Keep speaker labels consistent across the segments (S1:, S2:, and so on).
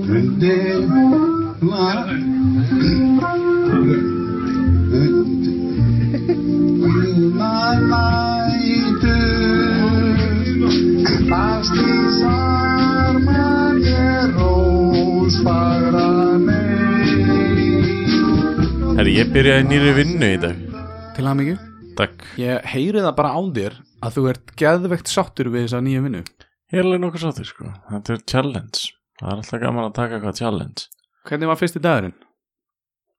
S1: Önde var.
S2: Herri, ég byrjaði nýri vinnu í dag
S3: Til að mikið
S2: Takk
S3: Ég heyri það bara á þér að þú ert geðveikt sáttur við þessa nýja vinnu
S2: Ég er alveg nokkuð sáttir sko Þetta er challenge Það er alltaf gaman að taka eitthvað challenge
S3: Hvernig var fyrsti dagurinn?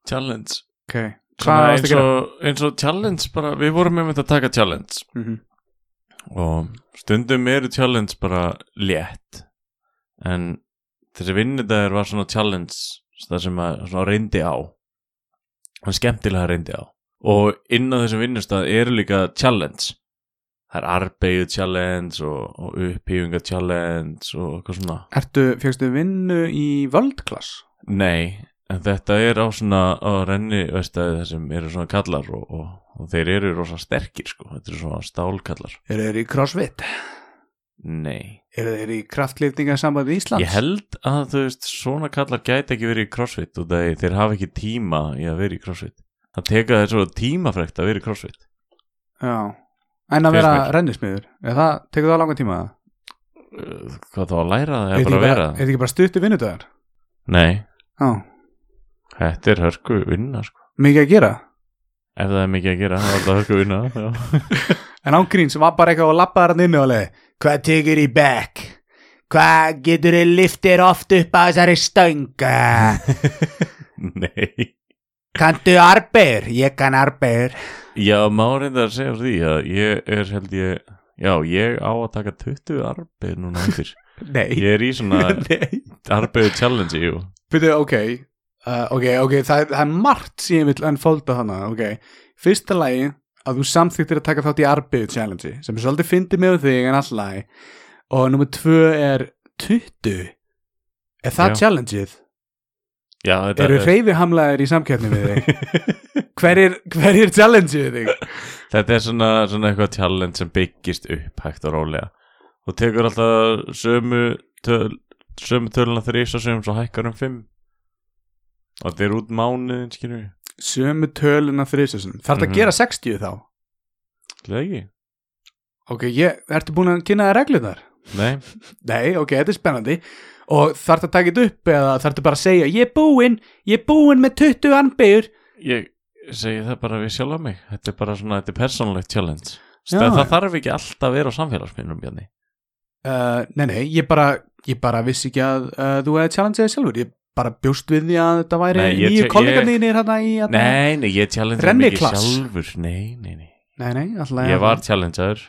S2: Challenge
S3: Ok Hvað
S2: Svona
S3: varst
S2: eins,
S3: að gera?
S2: og, eins og challenge bara Við vorum með að taka challenge
S3: Mhm.
S2: Og stundum eru challenge bara létt En þessi vinnudagur var svona challenge Það sem að svona reyndi á Hann skemmtilega reyndi á Og inn á þessum vinnustad eru líka challenge Það er arbeigu challenge og, og upphýfinga challenge og eitthvað svona
S3: Ertu, fegstu vinnu í völdklass?
S2: Nei, en þetta er á svona á renni, veist að það sem eru svona kallar og, og, og þeir eru rosa sterkir sko, þetta eru svona stálkallar
S3: Eru þeir í crossfit?
S2: Nei,
S3: Eru þeir í kraftliftningasambandi Íslands?
S2: ég held að þú veist svona kallar gæti ekki verið í crossfit og þeir, þeir hafa ekki tíma í að vera í crossfit það teka þeir svona tímafrekt að vera í crossfit
S3: Já En að
S2: Finnst
S3: vera
S2: mér.
S3: rennismiður Er það, tekur það langan tíma?
S2: Uh, hvað þá að læra það eða
S3: Er þetta
S2: bara að
S3: ekki
S2: vera
S3: Er
S2: það
S3: þetta ekki bara stuttu vinnudagur?
S2: Nei,
S3: Já
S2: þetta er hörku vinna sko
S3: Mikið að gera?
S2: ef það er mikið að gera, það er alltaf hörku vinna já.
S3: En ángríns var bara eitthvað að lappa þarna inni og leið Hvað tekur í back? Hvað getur þið liftir oft upp á þessari stönga?
S2: Nei
S3: Kanntu arbeir? Ég kann arbeir
S2: Já, má reynda að segja frá því að ég er held ég Já, ég á að taka 20 arbeið núna eftir
S3: Nei,
S2: Ég er í svona
S3: nei
S2: arbeið challenge, jú
S3: Byrju, ok uh, Ok, ok, það, það er margt sem ég vil enn fólda hana Ok, fyrsta lagi að þú samþyktir að taka þátt í arbeið challenge sem er svolítið fyndið með þig en alltaf lagi og nummer tvö er 20 Er það
S2: Já.
S3: challengeið?
S2: Já, þetta
S3: Eru
S2: er,
S3: hreyfihamlaðir í samkeppni við þig? hverjir, hverjir challenge við þig?
S2: þetta er svona, svona eitthvað challenge sem byggist upp hægt og rólega Þú tekur alltaf sömu töl, sömu töluna þrýs og sömu svo hækkar um 5 Og þetta er út mánuðin, skilur við
S3: Sömu töluna þriðsessun. Þarf það
S2: Mhm.
S3: að gera 60 þá?
S2: Ætli Það ekki?
S3: Ok, ég, ertu búin að kynna það reglunar?
S2: Nei,
S3: Nei, ok, þetta er spennandi. Og þarf það að taka þetta upp eða þarf það bara að segja ég er búinn, ég er búinn með 20 anbyggur.
S2: ég segi það bara við sjálf á mig Þetta er bara svona, þetta er persónulegt challenge
S3: Já.
S2: Það, það þarf ekki alltaf að vera á samfélagsmiðnum, Bjarni
S3: Uh, nei, nei, ég bara, ég bara vissi ekki að uh, þú hefði challengeið sjálfur. Ég bara bjóst við því að þetta væri
S2: Nei, ég te-
S3: nýju
S2: ég-
S3: kollegarnir hérna í... hérna-
S2: Nei, nei, ég challenge
S3: Renni
S2: mig ekki
S3: klass.
S2: sjálfur Nei, nei, nei
S3: Nei, nei, alltaf...
S2: Ég var challengeður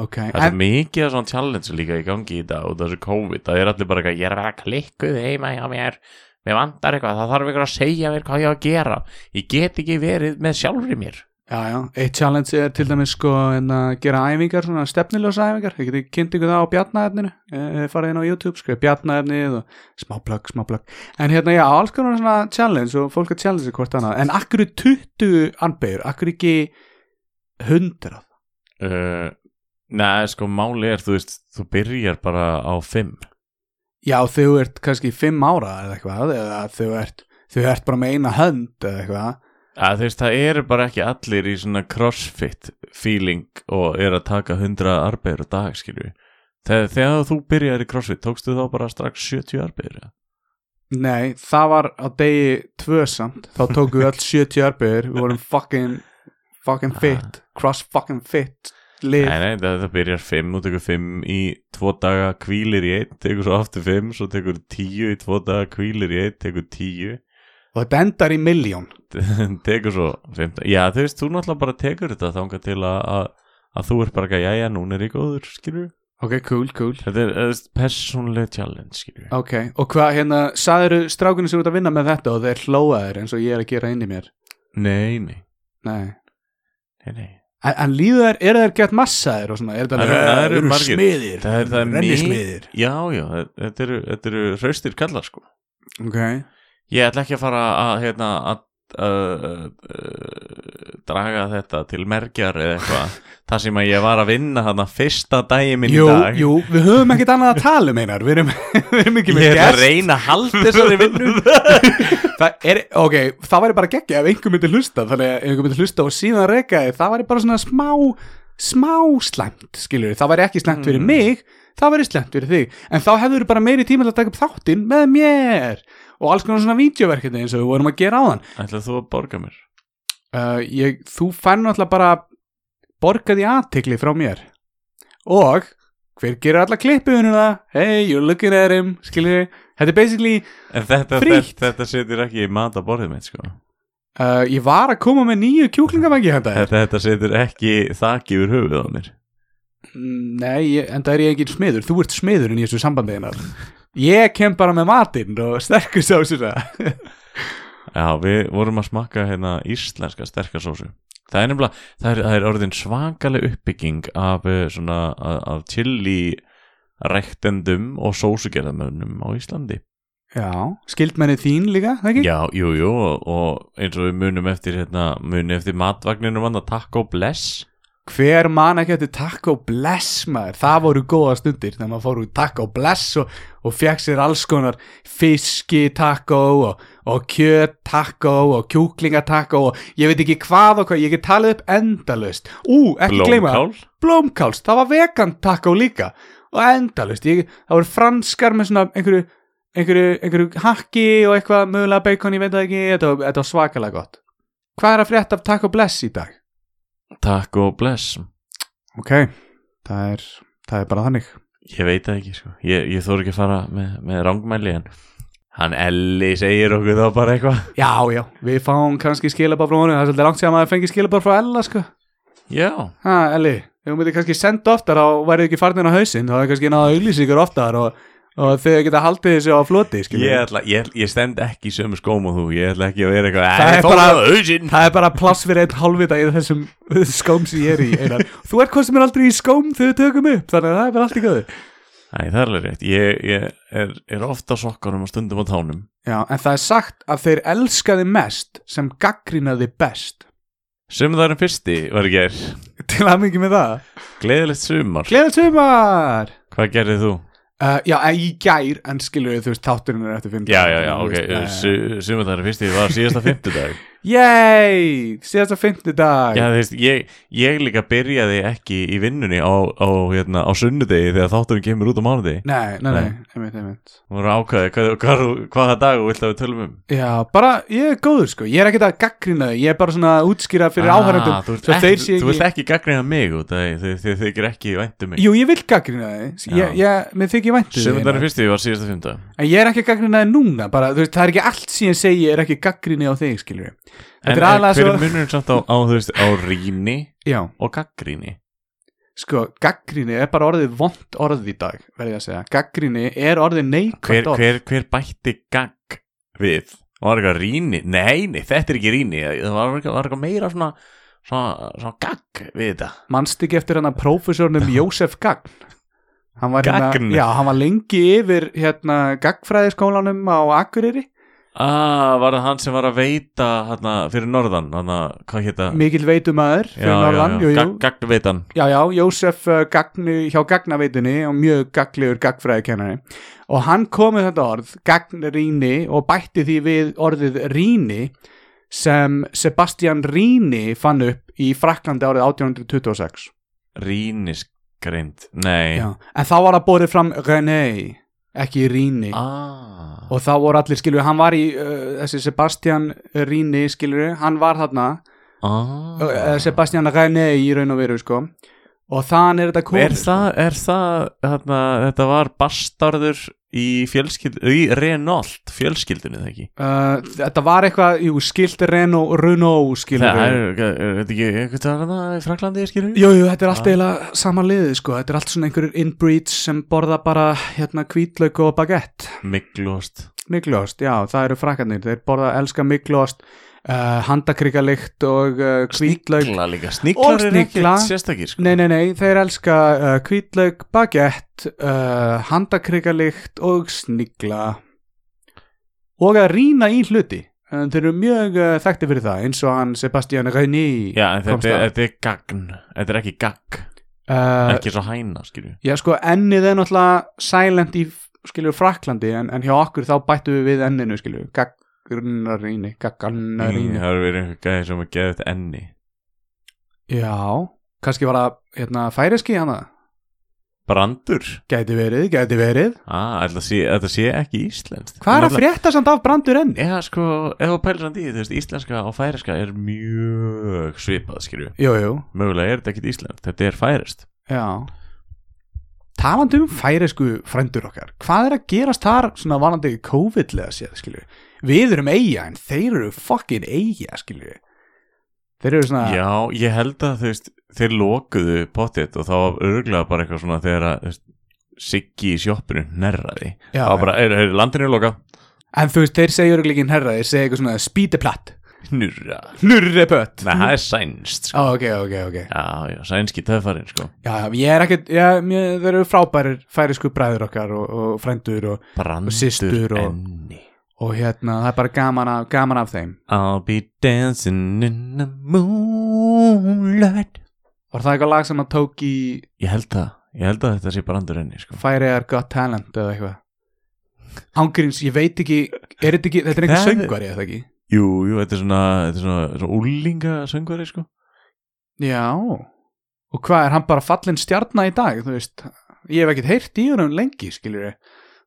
S3: Ok,
S2: Það er
S3: en,
S2: mikið af svona challenge líka í gangi í dag út af þessu COVID Það er allir bara eitthvað, ég er að vera klikkuð heima hjá mér Mér vantar eitthvað, það þarf eitthvað að segja mér hvað ég á að gera Ég get ekki verið með sjálfri mér
S3: Já, já, eitt challenge er til dæmis sko en að gera æfingar, svona stefnilosa æfingar ég geti kynnt ykkur það á bjarnaefninu eh, farið inn á YouTube, skrifa bjarnaefnið og smá plögg, smá plögg en hérna, já, alls konar svona challenge og fólk að challenge hvort annað, en akkur 20 anbeigur, akkur ekki 100
S2: uh, Nei, sko, máli er, þú veist, þú byrjar bara á 5
S3: já, þau ert kannski 5 ára eða eitthvað, eða þau ert þau ert bara með eina hönd eða eitthvað
S2: að, Þú veist, það eru bara ekki allir í svona crossfit feeling og er að taka 100 arbeir á dag, skilju Þegar, þegar þú byrjar í crossfit, tókstu þá bara strax 70 arbeir, eða?
S3: Nei, það var á degi tvö samt, þá tókum við öll 70 arbeigur, við vorum fucking fucking fit, cross fucking fit lið,
S2: Ah. Nei, nei, það, það byrjar 5 og tekur 5 í 2 daga, kvílir í 1, tekur svo aftur 5, svo tekur 10 í 2 daga, kvílir í 1, tekur 10,
S3: og þetta endar í miljón
S2: tekur svo 15. Já, þú veist, þú náttúrulega bara tekur þetta þangað til að, að, að þú ert bara ekki að, jæja, núna er ég góður, skilju.
S3: Ok, cool, cool
S2: Þetta er, er persónlega challenge, skilju.
S3: Ok, og hvað hérna, sagðiru strákunni sem út að vinna með þetta og þeir hlóaðir eins og ég er að gera inn í mér
S2: Nei, nei,
S3: Nei
S2: nei, nei.
S3: En, en líður þær, eru þær gett massaðir og svona, er þetta
S2: Það eru- það eru
S3: "Eh,
S2: margir.
S3: smiðir,
S2: Það er- það er mi-
S3: rennismiðir
S2: Já, já, þetta eru, þetta eru hraustir kallar, sko.
S3: Ok,
S2: Ég ætla ekki að fara að, hérna, að að uh, draga þetta til mergjar eða eitthvað það sem að ég var að vinna þarna fyrsta dagi minn
S3: jú,
S2: í dag
S3: jú, við höfum ekkert annað að tala um einar Við erum, við erum ekki
S2: ég
S3: með
S2: er að
S3: gest
S2: reyna að halda þessari vinnu
S3: Það er, ok, það væri bara geggja ef einhver myndi hlusta Þannig að ef einhver myndi hlusta og síðan reyka þið Það væri bara svona smá, smá slæmt, skilur Það væri ekki slæmt fyrir
S2: Mm.
S3: mig Það væri slæmt fyrir þig En þá hefur bara meiri tíma til að taka upp þáttinn með mér Og alls konar svona vídeoverkefni eins og við vorum að gera á þann
S2: ætlaði þú að borga mér
S3: uh, ég, Þú fær náttúrulega bara borgaði aðtikli frá mér Og hver gerir alla klippiðununa Hey, you're looking at him, skilur Þetta er basically
S2: en þetta,
S3: Frítt.
S2: þetta, þetta setur ekki í mat á borðið mitt sko.
S3: Uh, ég var að koma með nýju kjúklingamæki handa þér
S2: þetta, þetta setur ekki þakki yfir höfuð á mér
S3: Mm, Nei, ég, en það er ég ekki smiður Þú ert smiðurinn í þessu sambandi hennar Ég kem bara með matinn og sterkur sá
S2: Já, við vorum að smakka hérna íslenska sterkarsósu. Það er nefnilega, það er, það er orðin svakaleg uppbygging af eh, svona, af, af chili rektendum og sósugerðamönnum á Íslandi.
S3: Já, skildmenni þín líka, það ekki?
S2: Já, jú, jú, og- og eins og við munum eftir hérna, munum eftir matvagninum hann að takk og bless.
S3: Hver man ekki eftir Taco Bless maður Það voru góða stundir þegar maður fór úr Taco Bless og, og fekk sér alls konar fiski taco og, og kjöt taco og kjúklinga taco og ég veit ekki hvað og hvað, ég get talið upp endalaust Ú, ekki gleyma
S2: Blómkál.
S3: blómkáls, það var vegan taco líka og endalust, ég, það voru franskar með svona einhverju, einhverju, einhverju hakki og eitthvað mögulega bacon, ég veit það ekki, þetta var, þetta var svakalega gott. Hvað er að frétta af taco bless í dag?
S2: Takk og bless.
S3: Ok, það er, það er bara þannig.
S2: Ég veit það ekki, sko. Ég, ég þóru ekki að fara með, með rángmæli en hann Elli segir okkur þá bara eitthvað.
S3: Já, já, við fáum kannski skilabár frá honum, það er svolítið langt sér að maður fengi skilabár frá Ella, sko.
S2: Já.
S3: Ha, Elli, ef hún myndi kannski senda oftar, þá værið þið ekki farnir á hausinn, þá er kannski náða auglýsingar oftar og, og þau geta haldið þessu á floti, skiljum.
S2: Ég, ætla, ég, ég stend ekki í sömu skóm og þú, ég ætla ekki að vera eitthvað
S3: Það
S2: "Æ,
S3: er
S2: fór
S3: bara-
S2: á hausinn
S3: Það er bara pláss fyrir einn halvvita í þessum skóm sem ég er í einar. Þú ert hvað sem er aldrei í skóm þegar við tökum upp þannig að það er bara allt í göðu
S2: Æ, það er alveg rétt, ég, ég er, er ofta sokkanum og stundum á tánum
S3: Já, en það er sagt að þeir elskaði mest sem gaggrinaði best
S2: Sem það er en fyrsti, var ég ger
S3: Til að mikið með það
S2: Gleðilegt sumar,
S3: Gleðið sumar!
S2: hvað gerðið þú?
S3: Uh, já, en í gær, en skilur við þú veist þátturinn er eftir 50
S2: Já, já, já, ok,
S3: eh,
S2: su, sumar það er en fyrsti, var síðasta fimmtudag
S3: Yey, síðast að 50 dag
S2: Já, þú veist, ég, ég líka byrjaði ekki í vinnunni á, á, hérna, á sunnudegi þegar þátturinn kemur út á mánudegi
S3: Nei, nei, nei,
S2: Nei.
S3: einmitt, einmitt
S2: Þú voru ákvæði, hvað, hvað, hvaða dag vilt að við tölum um?
S3: Já, bara, ég er góður sko, ég er ekkert að gaggrina þau, ég er bara svona að útskýra fyrir ah, áhærendum
S2: þú, ert
S3: svo
S2: ekki,
S3: þeir séu
S2: þú
S3: ekki-
S2: vilt ekki gaggrina mig út af því, þið, þið, þið þykir ekki væntum mig
S3: Jú, ég vil gaggrina þið ég,
S2: Já.
S3: ég, Mér þykir væntu
S2: Sumundar er fyrsti, var síðasta fymta
S3: En ég er ekki að gaggrina þið núna bara, þú veist, Það er ekki allt sem ég segi er ekki gaggrinni á þig skilur Þetta
S2: En
S3: er
S2: eh,
S3: aðalega
S2: hver er
S3: svo-
S2: munurinn samt á, á, þú veist, á rýni
S3: Já,
S2: og gaggríni?
S3: sko, gaggrinni er bara orðið vond orðið í dag verði ég að segja Gaggrinni er orðið
S2: Hver,
S3: neikvæmt orð
S2: hver, hver bætti gagg við? Var eitthvað rýni? Nei, nei, þetta er ekki rýni Það var eitthvað, var eitthvað meira svona, svona, svona gagg við þetta
S3: Manst ekki eftir hann að prófessornum Jósef Gagn Hann var,
S2: Gagn?
S3: hérna, já, hann var lengi yfir hérna, gaggfræðiskólanum á Akureyri
S2: Ah, var það hann sem var að veita hana, fyrir norðan, hana, hvað hétta?
S3: mikill veitumæður fyrir norðan jú, jú.
S2: Gagg, gaggveitan
S3: Já, já, Jósef uh, gagni, hjá gagnaveitunni og mjög gagliður gagfræðikennari og hann kom með þetta orð, gagnrýni og bætti því við orðið rýni sem Sebastian Rýni fann upp í Fraklandi árið 1826
S2: Rýnisgreind, nei
S3: já. en þá var það borðið fram René ekki Rýni
S2: Ah,
S3: og þá voru allir skilur, hann var í uh, þessi Sebastian Rýni skilur, hann var þarna
S2: ah.
S3: uh, Sebastian René í raun og veru sko og þann er þetta komið
S2: Er það, er það þarna, þetta var bastarður í fjölskyld, í Renault fjölskyldinu það ekki?
S3: Uh, þetta var eitthvað, jú, skilt Reno, Renault skilur
S2: Það er,
S3: við
S2: er er þetta ekki einhvern veginn það í Fraklandi, ég skilur?
S3: Jú, jú, þetta er allt
S2: Ah.
S3: eiginlega sama liðið sko Þetta er allt svona einhverjur inbreeds sem borða bara hérna hvítlauk og baguett
S2: Miglost.
S3: Miglost, já, það eru frakarnir Þeir borða, elska miglost uh, Handakríkalikt og uh, hvítlauk
S2: Snigla líka. Sniglar er
S3: snigla.
S2: ekkert sérstakir, sko.
S3: Nei, nei, nei, þeir elska uh, hvítlauk, baguett uh, Handakríkalikt og snigla Og að rýna í hluti en þeir eru mjög uh, þekkti fyrir það eins og hann Sebastian Reyni
S2: Já, en
S3: komst
S2: þetta,
S3: að.
S2: þetta er gagn Þetta er ekki gagg,
S3: uh,
S2: ekki svo hæna skilju
S3: já sko ennið er náttúrulega silent í skilur Fraklandi en, en hjá okkur þá bættu við við enninu skilur Gagnarini Gagnarini
S2: Það eru verið einhver gæði sem að gefa þetta enni
S3: já, kannski var það hérna, færiski hana
S2: Brandur
S3: gæti verið, gæti verið
S2: Ah, ætla að sé, þetta sé ekki íslenskt
S3: hvað er að
S2: Náttúrulega-
S3: frétta samt af brandur enni?
S2: Já, sko, ef þú pælir hann í, því, þú veist, íslenska og færiska er mjög svipað, skilju
S3: jú, jú,
S2: Mögulega er þetta ekkit íslenskt, þetta er færist
S3: já talandi um færisku frændur okkar hvað er að gerast þar svona vanandi COVID-lega séð, skilju við erum eiga en þeir eru fucking eiga skilju þeir eru svona
S2: Já, ég held að, þú veist, þeir lokuðu pottet og þá var örglega bara eitthvað svona þegar að, þú veist, Siggi í sjoppinu nerraði
S3: Já,
S2: Það var bara, er, er landinu er lokað
S3: en þú veist, þeir segjur ekki herra þeir segja eitthvað svona spíteplatt
S2: Nurra
S3: hlurrepött
S2: Nei, það er sænst, sko
S3: ok, ok, ok
S2: Já, já, sænski töfarinn, sko
S3: já, já, ég er ekkert, já, mér, þeir eru frábærir færisku bræður okkar og, og frændur og,
S2: Brandur
S3: systur og-
S2: enni
S3: og hérna, það er bara gaman af, gaman af þeim
S2: I'll be dancing in the moonlight
S3: Var það eitthvað lag sem að tók í
S2: Ég held það, ég held að þetta sé brandur enni, sko
S3: Færiðar Got Talent eða eitthvað? Ángurins, ég veit ekki, er þetta ekki, þetta er einhver
S2: Það er-
S3: söngvari eða ekki?
S2: Jú, jú, þetta er svona, þetta er svona, svona úlinga söngvari, sko
S3: Já, og hvað er hann bara fallin stjarnar í dag, þú veist? Ég hef ekkert heyrt í húnum lengi, skiljur ég.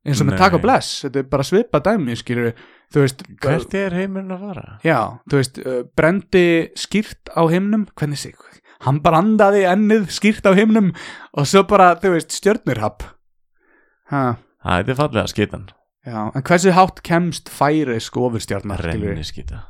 S3: Eins og með
S2: Nei.
S3: Taco Bless, þetta er bara svipa dæmi, skiljur ég. Þú veist,
S2: Hvert er heimurinn að fara?
S3: já, þú veist, uh, brendi skýrt á himnum, hvernig sig, hann brandaði ennið skýrt á himnum og svo bara, þú veist, stjörnurhapp. Hæ?
S2: Æ, þetta er fallega skitan
S3: Já, en hversu hátt kemst sko, færisk ofurstjarnar
S2: Renni skita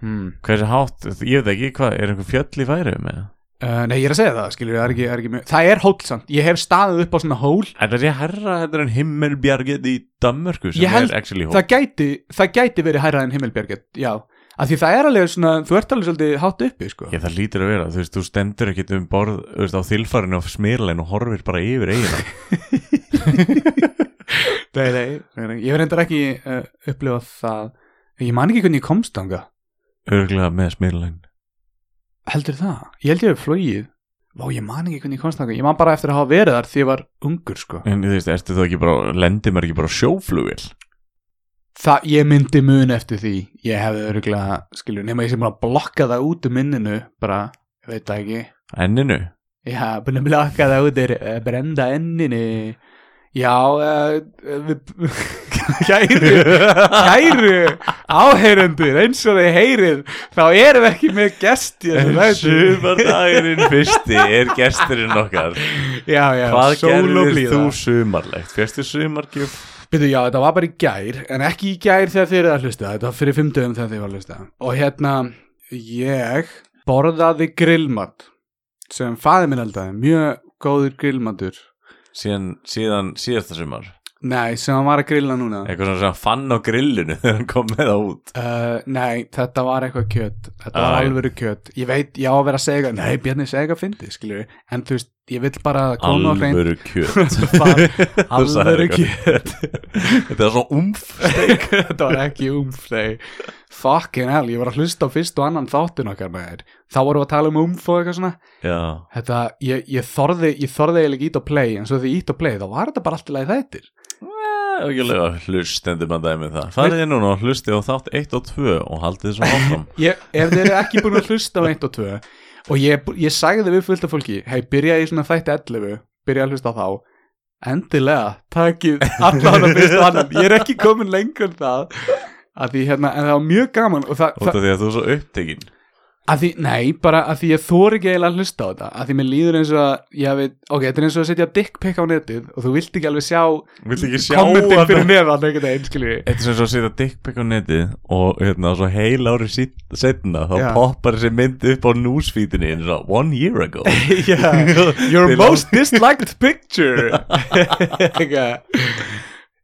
S3: Hmm.
S2: Hversu hátt, ég veit ekki hvað, er einhver fjöll í færi með
S3: Uh, nei, ég er að segja það, skilur, það er ekki, það er ekki mjög... Það er hólsamt, ég hef staðið upp á svona hól
S2: En það sé herra þetta er en himmelbjarget í Danmörku sem
S3: Ég held-
S2: er actually hótt
S3: það gæti, það gæti verið hærra en himmelbjörget, já Af því það er alveg svona, þú ert alveg svolítið hátt uppi, sko
S2: Já, það lítur að vera, þú veist, þú stendur ekkit um borð, þú veist, á þilfarinu á smirlein og horfir bara yfir eigina.
S3: Nei, nei, nei, nei, ég hef reyndar ekki uh, upplifað það Ég man ekki hvernig ég komst þanga
S2: Örglega með smirlein.
S3: Heldur það? Ég held ég hef flogið Vá, ég man ekki hvernig ég komst þanga Ég man bara eftir að hafa verið þar því ég var ungur, sko
S2: En þú veist, ertu þá ekki bara, lendir maður ekki bara á sjóflugil?
S3: Það, ég myndi mun eftir því ég hefði öruglega, skilur, nema ég sem bara blokka það út um minninu, bara ég veit það ekki,
S2: Enninu?
S3: já, búin að blokka það út er uh, brenda enninu já uh, við, kæru kæru áheyrendur eins og þið heyrið þá erum við ekki með gest í þessu þætti.
S2: Sumardagurinn fyrsti er gesturinn okkar.
S3: já, já,
S2: Hvað
S3: sól og
S2: gerðir
S3: blíða.
S2: þú sumarlegt? Fyrstu sumargjöf?
S3: Býtu, já, þetta var bara í gær, en ekki í gær þegar þið eru að hlusta, þetta var fyrir fimmtöðum þegar þið var að hlusta. Og hérna, ég borðaði grillmat sem faði minn eldaði, mjög góður grillmatur.
S2: Síðan, síðan síðasta sumar.
S3: Nei, sem hann var að grilla núna.
S2: Eitthvað svona sem hann fann á grillinu þegar hann kom með það út.
S3: Uh, nei, þetta var eitthvað kjöt, þetta
S2: Æ.
S3: var alvöru kjöt. Ég veit, ég á að vera að segja, eitthvað- nei, Bjarni, segja eitthvað fyndið, skilur við, en þú veist, ég vil bara að koma á hreint.
S2: Alvöru kjöt.
S3: Það-
S2: Þú sagðir
S3: alvöru
S2: eitthvað. Þetta er svo umf.
S3: þetta var ekki umf nei. fucking hell, ég var að hlusta á fyrst og annan þáttun okkar með þér þá vorum við að tala um umf og eitthvað svona
S2: Já.
S3: þetta, ég, ég þorði, ég þorði eiginlega ekki ít á play, en svo því ég ít á play þá var þetta bara alltaf leið þættir
S2: og ég lög að hlustendur maður dæmi það farið inn núna og hlusti á þátt 1 og 2 og haldið þessu áfram
S3: ég, ef þið eru ekki búin að hlusta á 1 og 2 og ég, ég sagði við fullt af fólki hei, byrjaði í svona þætti 11 byrjaði að hlusta á þá endilega, takið allan að fyrst og annan ég er ekki komin lengur en það að því hérna, en það var mjög gaman og það,
S2: út af því að þú er svo upptekinn
S3: að því, nei, bara að því ég þóri ekki eiginlega að hlusta á þetta, að því mér líður eins og að ég veit, ok, þetta er eins og að setja dick pic á netið og þú vilt ekki alveg sjá
S2: vill ekki sjá
S3: kommentin
S2: þetta
S3: fyrir neðan einhvern veginn, skilur við
S2: Þetta er sem svo að setja dickpick á netið og hérna, svo heil ári setna þá
S3: Já.
S2: poppar þessi mynd upp á newsfeedinni eins og one year ago
S3: yeah, your
S2: Þeir
S3: most disliked picture Eitthvað.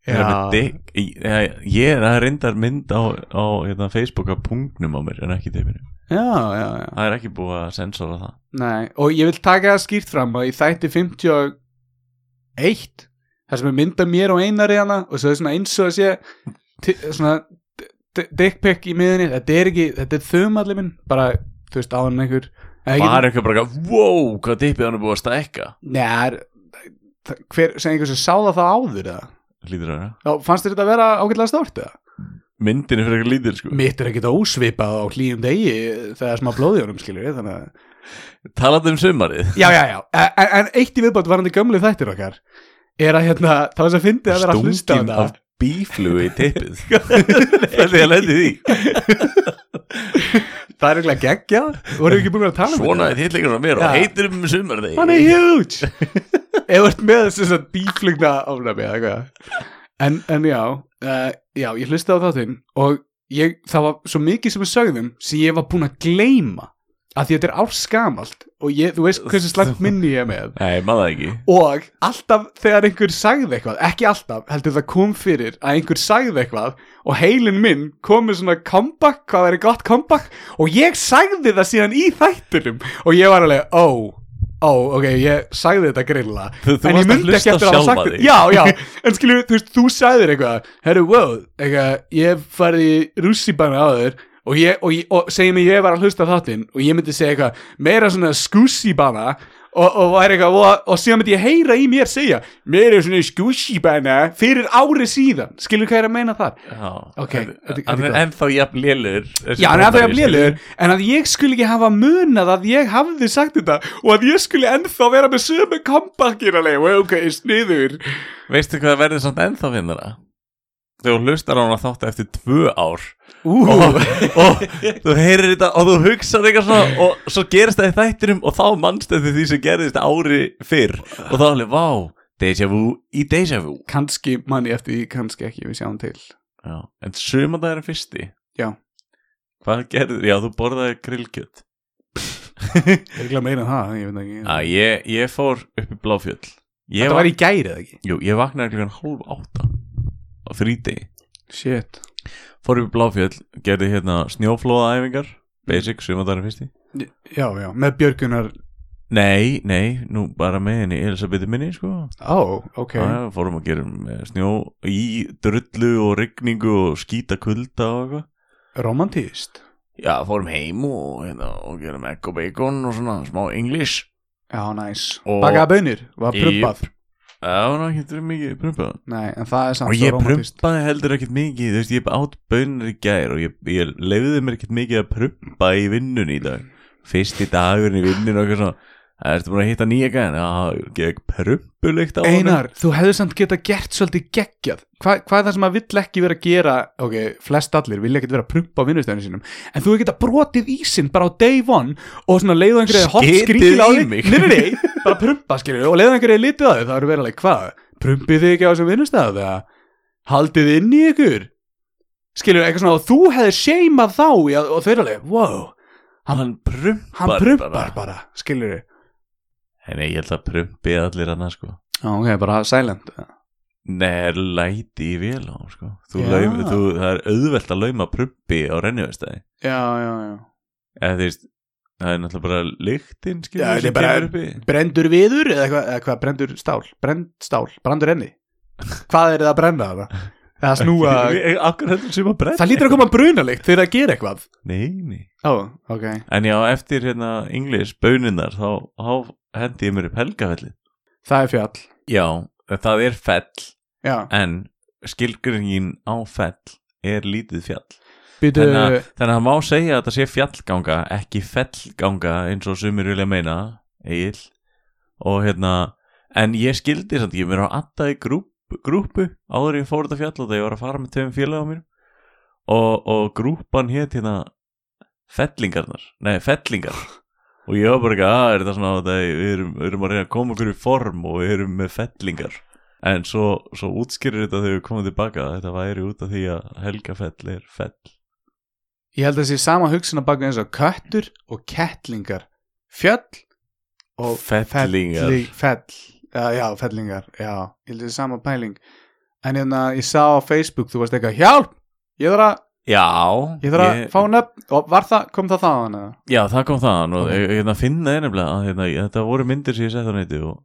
S2: Þeir eru með
S3: já,
S2: dick- Ég ég- ég er að reyndar mynd á, á hérna, Facebook að punktnum á mér en ekki teipinu
S3: já, já, já
S2: Það er ekki búið að sensora það
S3: Nei, og ég vil taka það skýrt fram að ég þætti 51 þar sem er mynda mér og einari hana og svo er svona eins og að sé ti- svona d- dick pic í miðinni þetta er ekki, þetta er þumalli minn bara, þú veist, áðan einhver
S2: Var eitthvað bara, eitthvað, wow, hvað dippið hann er búið að stækka
S3: neðar hver, sem einhver sem sá það það áður eða?
S2: Lítur að vera
S3: þá fannst þér þetta að vera ágætlega stórt eða?
S2: Myndin er fyrir eitthvað lítil sko
S3: mitt er ekkit ósvipað á hlýjum degi þegar smá blóði honum skilur við þannig að
S2: Talandi um sumarið
S3: já, já, já, en, en eitt í viðbátt varandi gömlu þættir okkar er að hérna, þá þess að fyndi að vera að hlusta á
S2: Stungin af
S3: þetta
S2: bíflugu í tippið Hvernig ég lendi því
S3: það er eiginlega geggjað, vorum við ekki búin að tala um
S2: Svona er þittleikurinn á mér
S3: Já.
S2: og heitir um sumarið
S3: hann er huge ef þú ert með þess að bíflugna ofnami eða eitthvað en, en já, uh, já, ég hlusti á þáttinn og ég, það var svo mikið sem við sögðum sem ég var búin að gleyma að því þetta er árskamalt og ég, þú veist hversu slæmt minni ég er með
S2: Nei, maður það ekki
S3: og alltaf þegar einhver sagði eitthvað ekki alltaf, heldur það kom fyrir að einhver sagði eitthvað og heilin minn kom með svona comeback, hvað væri gott comeback og ég sagði það síðan í þættinum og ég var alveg, ó ó, ok, ég sagði þetta grilla
S2: Þú- þú
S3: en ég
S2: varst að
S3: myndi ekki
S2: hlusta
S3: eftir að hafa
S2: sjálfa
S3: sagt
S2: þig.
S3: þetta já, já, en skilju, þú veist, þú sagðir eitthvað herru, wow, eitthvað, ég hef farið í rússibanna áður og, ég, og, ég, og segjum ég var að hlusta á þáttinn og ég myndi segja eitthvað meira svona skússibana og, og, væri eitthvað, og, og síðan myndi ég heyra í mér segja meira svona skússibana fyrir ári síðan, skilju hvað ég er að meina þar
S2: Já.
S3: Ok, þetta- þetta er
S2: Hann er
S3: gott.
S2: ennþá jafn lélur
S3: Já, hann er ennþá jafn lélugur En að ég skuli ekki hafa munað að ég hafði sagt þetta Og að ég skuli ennþá vera með sömu kompakir Alveg, well, ok, sniður
S2: Veistu hvað verður samt ennþá vinnara? Þegar þú hlustar á hana þáttu eftir tvö ár
S3: Ú,
S2: og, og þú heyrir þetta og þú hugsar eitthvað svona og svo gerist það í þættinum og þá mannst þetta því sem gerðist ári fyrr og þá er alveg, vá, deja vu í deja vu
S3: kannski manni eftir því, kannski ekki, við sjáum til
S2: já. en sömandag er fyrsti
S3: Já.
S2: hvað gerður, já, þú borðaði grillkjöt
S3: Ég er ekki meira en það, ég veit ekki
S2: já, ég, ég fór upp í Bláfjöll ég,
S3: Þetta
S2: vak
S3: var í gæri eða ekki
S2: jú, ég vaknaði klukkan hálf átta á frídegi
S3: Shit
S2: fór upp í Bláfjöll, gerði hérna snjóflóðaæfingar basic, sömandag er fyrsti
S3: Já, já, með Björgunar
S2: Nei, nei, nú bara með henni Elisabethu minni, sko
S3: Ó, ok
S2: okay. já, fórum að gera um, eh, snjó í drullu og rigningu og skýta kulda og eitthvað
S3: Romantíst
S2: já, fórum heim og, hérna, og gerum egg og bacon og svona smá english
S3: Já, næs
S2: Og-
S3: Bakaða bönir, var
S2: Jú.
S3: prumpað
S2: það var ekki fyrir mikið prumpað
S3: Nei, en það er samt
S2: og
S3: svo
S2: ég
S3: romantískt.
S2: prumpaði heldur ekkert mikið þú veist, ég átt bönir í gær og ég, ég leiði mér ekkert mikið að prumpa í vinnun í dag fyrsti dagurinn í vinnun og eitthvað svona Það ertu búin að hitta nýja gæðin? Já, ég gekk prumpulikt á honum.
S3: Einar, þú hefðu samt geta gert svolítið geggjað Hva, Hvað er það sem að vill ekki vera að gera Ok, flest allir vilja ekkert vera að prumpa á vinnustöðinu sínum En þú hefur geta brotið ísinn bara á day one Og svona leiðu einhverju hot
S2: Skitið
S3: skrýkilega á
S2: í
S3: þig.
S2: mig.
S3: Nei, nei, nei, bara prumpa skilur Og leiðu einhverju litið á þig, það eru verið alveg hvað Prumpið þið ekki á þessum vinnustöðu þegar Haldið þið inn í ykkur Skilur, eitthvað svona, og þú hefði seimað þá í að- Og þau eru alveg, wow,
S2: Hann prumpar
S3: hann prumpar bara,
S2: bara.
S3: Skilur
S2: Nei, ég held að prumpi allir annars sko
S3: ok, bara silent
S2: Nei, er læti í vél á, sko. Þú
S3: Já.
S2: laum, þú, það er auðvelt að lauma prumpi á rennivestæði.
S3: Já, já, já
S2: Eða þú veist, það er náttúrulega bara lyktin, skilur,
S3: Já, þetta er
S2: sem
S3: bara-
S2: kemur uppi.
S3: brendur viður eða hvað, eða hvað brendur stál brend stál, brandur enni hvað er það að brenna það? eða snúa
S2: Akkur heldur sem að brenna.
S3: það lítur að koma brunalikt þegar það ger eitthvað
S2: Nei, nei.
S3: ó, ok
S2: En já, eftir hérna English bönunar, þá, þá hendi ég mér upp helgafellið.
S3: það er fjall
S2: Já, það er fell,
S3: já,
S2: en skilgringin á fell er lítið fjall.
S3: býtu
S2: Þannig að, þannig að það má segja að það sé fjallganga ekki fellganga eins og sumir vilja meina Egil og hérna, en ég skildi samt ekki, mér var alltaf í grúp, grúpu áður en ég fór þetta fjall og það ég var að fara með tveim félagum mér og, og grúpan hétt hérna fellingarnar, nei fellingar og ég var bara ekki að er þetta svona að við erum, við erum að reyna að koma okkur í form og við erum með fellingar en svo, svo útskýrir þetta þegar við komum tilbaka að þetta væri út af því að helgafell er fell
S3: ég held að sé sama hugsun að baka eins og köttur og kettlingar fjall og
S2: Fellingar.
S3: felli- fell, já, já, fellingar já, ég held að sé sama pæling en hérna, ég sá á Facebook þú varst eitthvað, hjálp, ég þarf að
S2: Já,
S3: ég þarf að fá hann upp og var það, kom það það hann eða?
S2: Já, það kom þaðan og
S3: Ok.
S2: okay. hérna finna er nefnilega að hérna, þetta voru myndir sem ég sett á neyti og,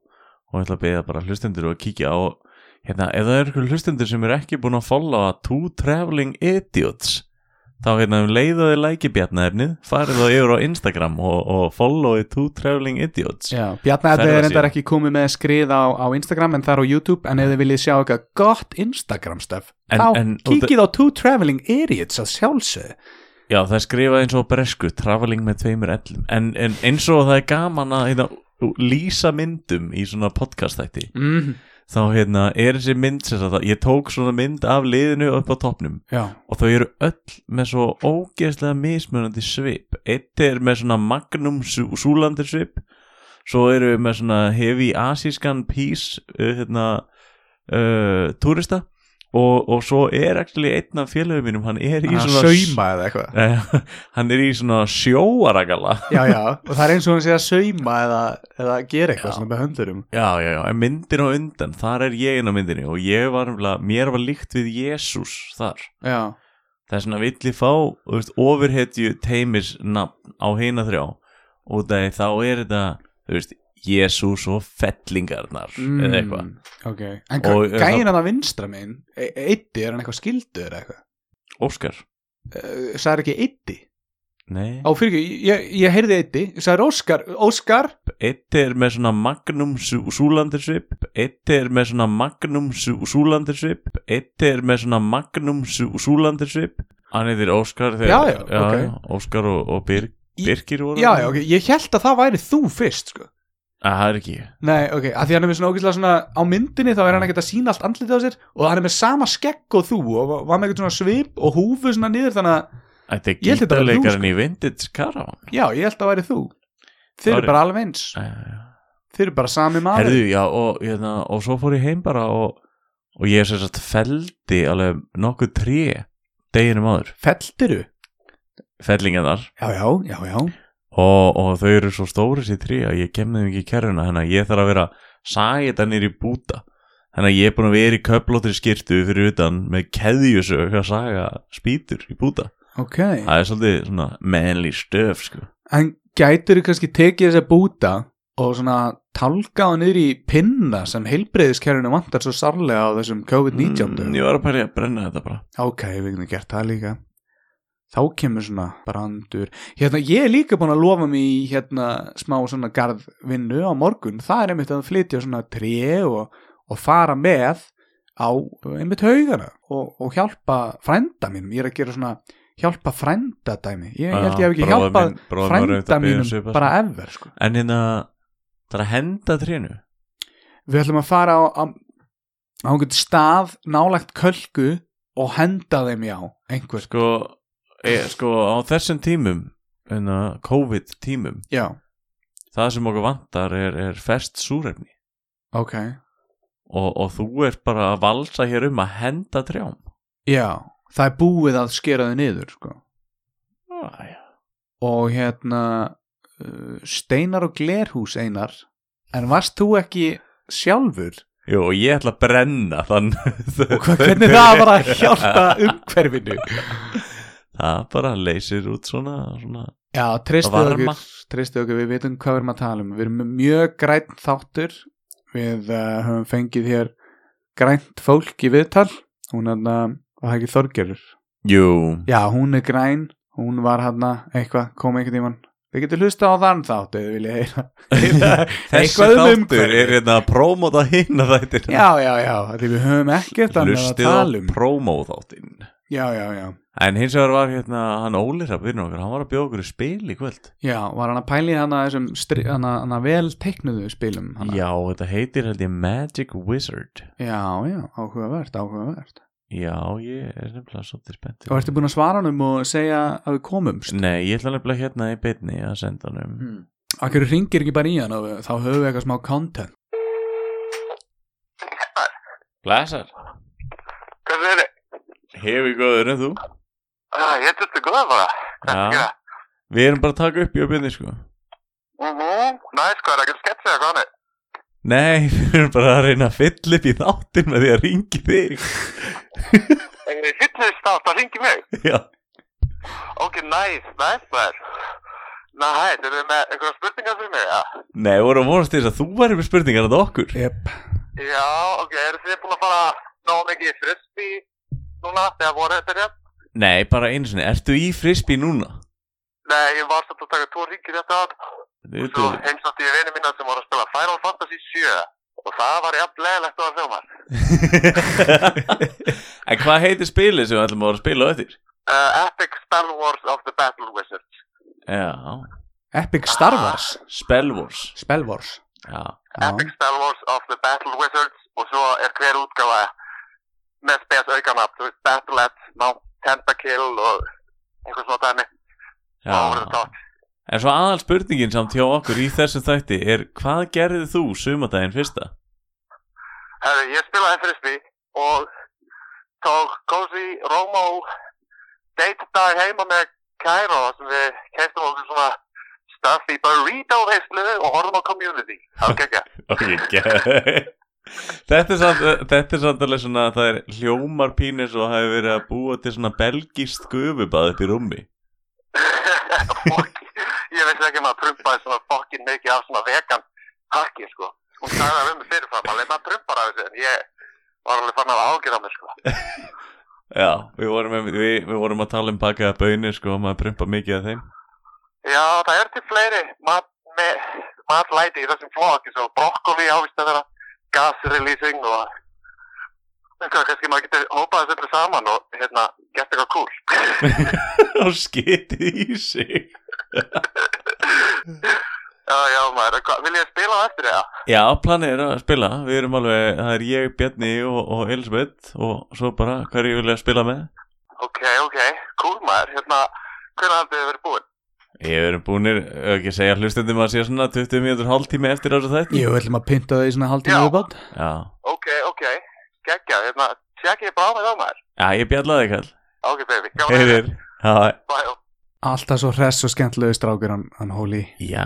S2: og ég ætla að beða bara hlustendur og kíkja og hérna, ef það eru ykkur hlustendur sem eru ekki búin að followa Two Traveling Idiots þá hérna um leiðaði læki bjarnaefnið farið þá yfir á Instagram og, og followið two traveling idiots
S3: Já, Bjarnaði er
S2: Ferðasíða.
S3: reyndar ekki komið með skrið á, á Instagram en það er á YouTube en ef þið viljið sjá eitthvað gott Instagram stöf
S2: En-
S3: þá
S2: en-
S3: kíkið á Two Traveling Idiots að sjálfsögðu
S2: Já, það er skrifað eins og á bresku Traveling með tveimur ellum En, en eins og það er gaman að hérna, lýsa myndum í svona podcast þætti
S3: mm.
S2: Þá hérna, er þessi mynd sem sagt, að Ég tók svona mynd af liðinu upp á toppnum
S3: Já,
S2: Og þau eru öll með svo ógeðslega mismunandi svip Eitt er með svona Magnum sú- Súlandir svip Svo eru með svona hefi asískan pís uh, hérna, uh, Túrista og, og svo er actually einn af félögum mínum Hann er í
S3: hann
S2: svona
S3: sauma eða eitthvað
S2: Eh, hann er í svona sjóaragala
S3: Já, já, og það er eins og hann sé að sauma eða, eða gera eitthvað svona með höndurum
S2: já, já, já, en myndin á undan þar er ég inn á myndinni og ég var nefnilega- mér var líkt við Jésús þar
S3: Já,
S2: það er svona villi fá þú veist, ofurhetju teimis nafn á heina þrjá og það, þá er þetta þú veist, Jésús og fellingarnar eða eitthvað
S3: Mm. Ok, en
S2: Og-
S3: og, gæin hann að vinstra minn Eitti, er hann eitthvað skildur eða eitthvað
S2: Óskar,
S3: Eh, Sagði ekki Eitti?
S2: nei
S3: Á fyrir ekki, ég, ég heyrði Eitti Sagði Óskar, Óskar
S2: eitt er með svona magnum sú, súlandir svip eitt er með svona magnum sú, súlandir svip eitt er með svona magnum sú, súlandir svip hann heitir Óskar þegar,
S3: Já, já, ok.
S2: Óskar og, og Birg,
S3: Í-
S2: Birgir voru
S3: Já, já, ok, ég held að það væri þú fyrst sko.
S2: að, það er ekki
S3: Nei, ok, að því hann er með svona ógæslega svona á myndinni þá er hann ekkert að sína allt andlitið á sér og hann er með sama skegg og þú og var með eitthvað svona svip og húfu svona niður þannig að
S2: þetta er
S3: Ég held þetta var þú,
S2: gítarleikarinn í Vintage Caravan
S3: já, ég held að væri þú Þeir
S2: Sorry.
S3: eru bara alveg eins,
S2: Já, já, já.
S3: þeir eru bara sami maður
S2: herðu, já, og, hérna, og svo fór ég heim bara og, og ég sem sagt feldi alveg nokkuð tré deginum áður,
S3: Felltiru?
S2: fellingarnar
S3: Já, já, já, já
S2: og, og þau eru svo stóri sér trí að ég kem þeim ekki í kerruna þannig að ég þarf að vera sæta nýr í búta þannig að ég er búin að vera í köflóttri skirtu fyrir utan með keðjusög að saga spýtur í búta
S3: Ok,
S2: það er svolítið svona menli stöf sko.
S3: en gætur þú kannski tekið þess að búta og svona talga hann niður í pinna sem heilbreyðiskerfinu vantar svo sárlega á þessum COVID-19 dögum?
S2: Mm, ég var að pæli að brenna þetta bara
S3: ok, við getum gert það líka þá kemur svona brandur hérna, ég er líka búin að lofa mig í hérna, smá svona garðvinnu á morgun, það er einmitt að flytja svona tré og, og fara með á einmitt haugana og, og hjálpa frænda mínum ég er að gera svona hjálpa frænda dæmi, ég, ég held ég hef ekki hjálpað frænda
S2: um
S3: mínum bara ever sko.
S2: en hérna, það er að henda trénu
S3: við ætlum að fara á, á, á einhvern stað nálægt kölku og henda þeim í á einhvers,
S2: sko, e, sko á þessum tímum hérna, COVID tímum
S3: já,
S2: það sem okkur vantar er, er fest súrefni
S3: ok
S2: og, og þú ert bara að valsa hér um að henda trjám
S3: Já, það er búið að skera þau niður sko.
S2: Æja.
S3: og hérna uh, steinar og glerhús einar en varst þú ekki sjálfur
S2: Jú, og ég ætla að brenna þann
S3: og hva, hvernig það var að hjálpa umhverfinu
S2: það bara leysir út svona, svona.
S3: Já, treystuð
S2: Varma.
S3: okkur, treystuð okkur við vitum hvað við erum að tala um við erum með mjög grænt þáttur við uh, höfum fengið hér grænt fólk í viðtal hún er að, var það ekki Þorgerur
S2: Jú,
S3: Já, hún er græn, hún var hérna eitthvað, kom einhvern tímann Við getum hlusta á þann þátt eða vilja heyra heyra
S2: þessi
S3: eitthvað um
S2: þáttur
S3: umhverfið.
S2: er hérna að prómóta hinna þættir
S3: Já, já, já, af því við höfum ekkert annað að
S2: hlustið á
S3: tala um
S2: prómóþáttinn
S3: Já, já, já,
S2: en hins vegar var hérna hann Ólirra byrjun okkar, hann var að bjóða okkur í spil í kvöld
S3: já, var hann að pæli hana þessum stri, hana, hana vel teiknuðu spilum hana.
S2: já, þetta heitir held ég Magic Wizard
S3: já, já, áhugavert, áhugavert
S2: já, ég er nefnilega svolítið spennt
S3: Og ertu búin að svara hann um og segja að við komumst
S2: nei, ég ætla nefnilega hérna í beinni að senda hann um
S3: mm. Akkur ringir ekki bara í hann og við- þá höfum við eitthvað smá content
S2: Blæsar
S4: Hvað er þið? Ah,
S2: Hefur góður en þú
S4: Ég er þetta góð bara.
S2: Já Við erum bara að taka upp í öfbjörni sko
S4: Mhm, næs, hvað er ekki sketsið að koni?
S2: Nei, við erum bara að reyna að fylla upp í þáttin með því að ringi þig
S4: Þegar þið hittist átt að ringi mig.
S2: Já
S4: Ok, næs, næs, næs. Næs, eru þið með einhverja spurningar fyrir mig? Ja.
S2: Nei, við vorum að vonast til þess að þú væri með spurningar að okkur
S3: Jep,
S4: Já, ok, eru þið búin að fara ná mikið í frisbee núna þegar voruð þetta rétt?
S2: Nei, bara einu sinni, ertu í frisbee núna?
S4: Nei, ég var samt að taka tvo ringir þetta að
S2: Þetta
S4: og
S2: er
S4: svo
S2: þetta-
S4: heimsótti ég vinið minna sem voru að spila Final Fantasy 7 og það var jafn leðilegt og að hljóma.
S2: En hvað heitir spilið sem við ætlum að voru að spila á eftir?
S4: Uh, Epic Spell Wars of the Battle Wizards.
S2: Já,
S3: Epic Star Wars
S2: Spell Wars
S3: Spell Wars
S2: Já,
S3: Já.
S4: Epic Star Wars of the Battle Wizards og svo er hver útgáfa með spes aukanab, þú veist, Battle at Mount Tentakill og einhver svona dæmi og það voru
S2: já.
S4: tótt.
S2: En svo aðal spurningin samt hjá okkur í þessum þætti er hvað gerðið þú sumardaginn fyrsta?
S4: Herru, ég spilaði frisbee og tók Cozy Romo date dag heima með Cairo sem við keistum okkur svona stuffy burrito veislu og horfum á community. Það var gekkja.
S2: Ok, ge- Þetta er samt, þetta er samt alveg svona það er hljómar pínir og hafi verið að búa til svona belgist gufubað upp í rúmi
S4: Fokk, ég veist ekki um að maður prumpaði svona fokkin mikið af svona vegan hakki, sko. Hún sagði það um mig fyrirfram, alveg maður prumpar af þessu, en ég var alveg fann að ágjöra mig, sko.
S2: Já, við vorum, einmitt- við, við vorum að tala um bakaða bönir sko og maður prumpa mikið af þeim
S4: Já, það er til fleiri mat, með, matlæti í þessum flokk, eins og brokkoli ávist að vera gasreleasing og eitthvað, kannski maður getur hópað þessu öllu saman og hérna, gert eitthvað cool.
S2: og skitið í sig
S4: já, já, maður, hva, vil ég spila á eftir það?
S2: Já, planið er að spila, við erum alveg, það er ég, Bjarni og, og Elisabeth og svo bara hverju ég vilja spila með
S4: Ok, ok, cool maður, hérna, hvernig hafði þið verið búin?
S2: Ég erum búinir, ef ekki að segja hlustendum að sé svona 20 mínútur hálftími eftir á þessu þætti
S3: Jú, við ætlum að pynta það í svona haldtíma
S4: Já.
S3: viðbátt
S2: Já,
S4: Ok, ok, geggja, hérna, tjekk ég bara á mig þá maður.
S2: já ég bjallaði kall
S4: Ok, baby, gaman að
S2: Heiðir, já,
S4: Bye.
S3: Alltaf svo hress og skemmtlegu strákur hann, hann hóli
S2: já,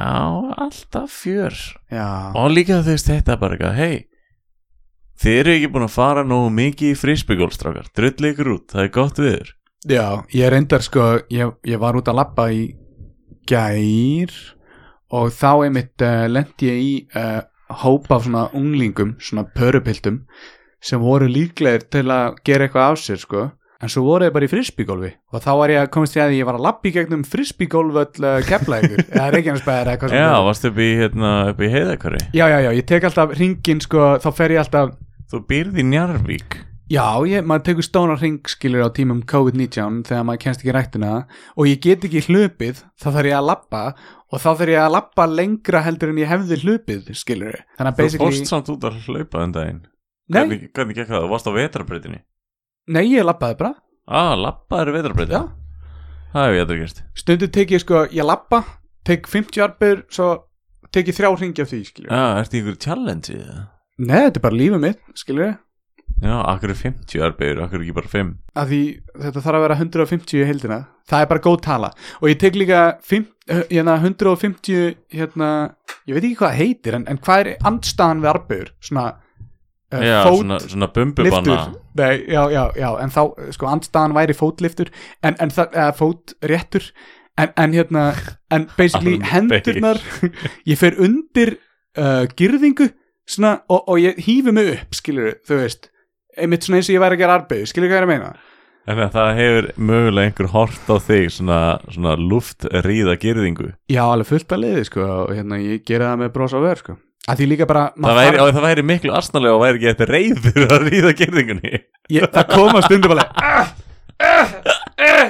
S2: alltaf fjör
S3: Já,
S2: Og líka þú veist þetta bara eitthvað, hei Þið eru ekki búin að fara nógu mikið í frisbygólstrákar Drulli ykkur út, það er gott viður
S3: Já ég reyndar sko ég, ég var út að labba í gær og þá einmitt uh, lendi ég í uh, hópa af svona unglingum, svona pörupiltum sem voru líklegir til að gera eitthvað af sér sko en svo voru ég bara í frisbygólfi og þá var ég að komast í að því ég var að labba í gegnum frisbygólföll uh, kepla ykkur eða reikjarnsbæðar eða hvað sem
S2: Já,
S3: það er.
S2: varstu upp í, hérna, upp í heiðakari
S3: Já, já, já, ég tek alltaf ringin sko, þá fer ég alltaf
S2: Þú býrð í Njarvík
S3: Já, ég, maður tekur stónar ringskilur á tímum COVID-19 þegar maður kennst ekki rættina og ég get ekki hlupið, þá þarf ég að lappa og þá þarf ég að lappa lengra heldur en ég hefði hlupið, skilur Þannig að
S2: Þú fórst
S3: basically,
S2: samt út að hlaupa um daginn
S3: nei,
S2: Hvernig, hvernig gekk það, þú varst á vetrarbreytinni
S3: nei, ég lappaði bara
S2: Ah, lappaður vetrarbreytinni
S3: Já.
S2: Það hef ég aldrei gerst
S3: Stundum tek ég sko, ég lappa, tek 50 arbur, svo tek ég þrjá ringi af því, skilur
S2: Já, ertu í ykkur challenge í það?
S3: Nei, þetta er bara lífið mitt, skilur
S2: Já, akkur er 50 arbegur, akkur er ekki bara 5
S3: að því þetta þarf að vera 150 í heldina það er bara góð tala og ég tek líka fimm- eh, hérna, 150 hérna, ég veit ekki hvað það heitir en, en hvað er andstaðan við arbur svona uh,
S2: Já,
S3: fót
S2: svona, svona bumbubanna
S3: Lyftur, nei, já, já, já, en þá, eh, sko, andstaðan væri fótliftur, en, en það, eða fótréttur, en, en hérna, en basically
S2: Alveg.
S3: hendurnar, ég fer undir uh, girðingu, svona, og, og ég hýfi mig upp, skilur, þú veist, einmitt svona eins og ég væri að gera arbeigu, skilur hvað ég er að meina?
S2: En það hefur mögulega einhver hort á þig Svona, svona luftríða girðingu
S3: Já, alveg fullt að liði, sko, og hérna, ég gera það með bros á vör, sko. Að því líka bara,
S2: það
S3: maður
S2: væri, og það væri miklu arsnalega og væri ekki eftir reyður að ríða girðingunni
S3: ég, það koma stundum alveg, "Ah, ah, ah,"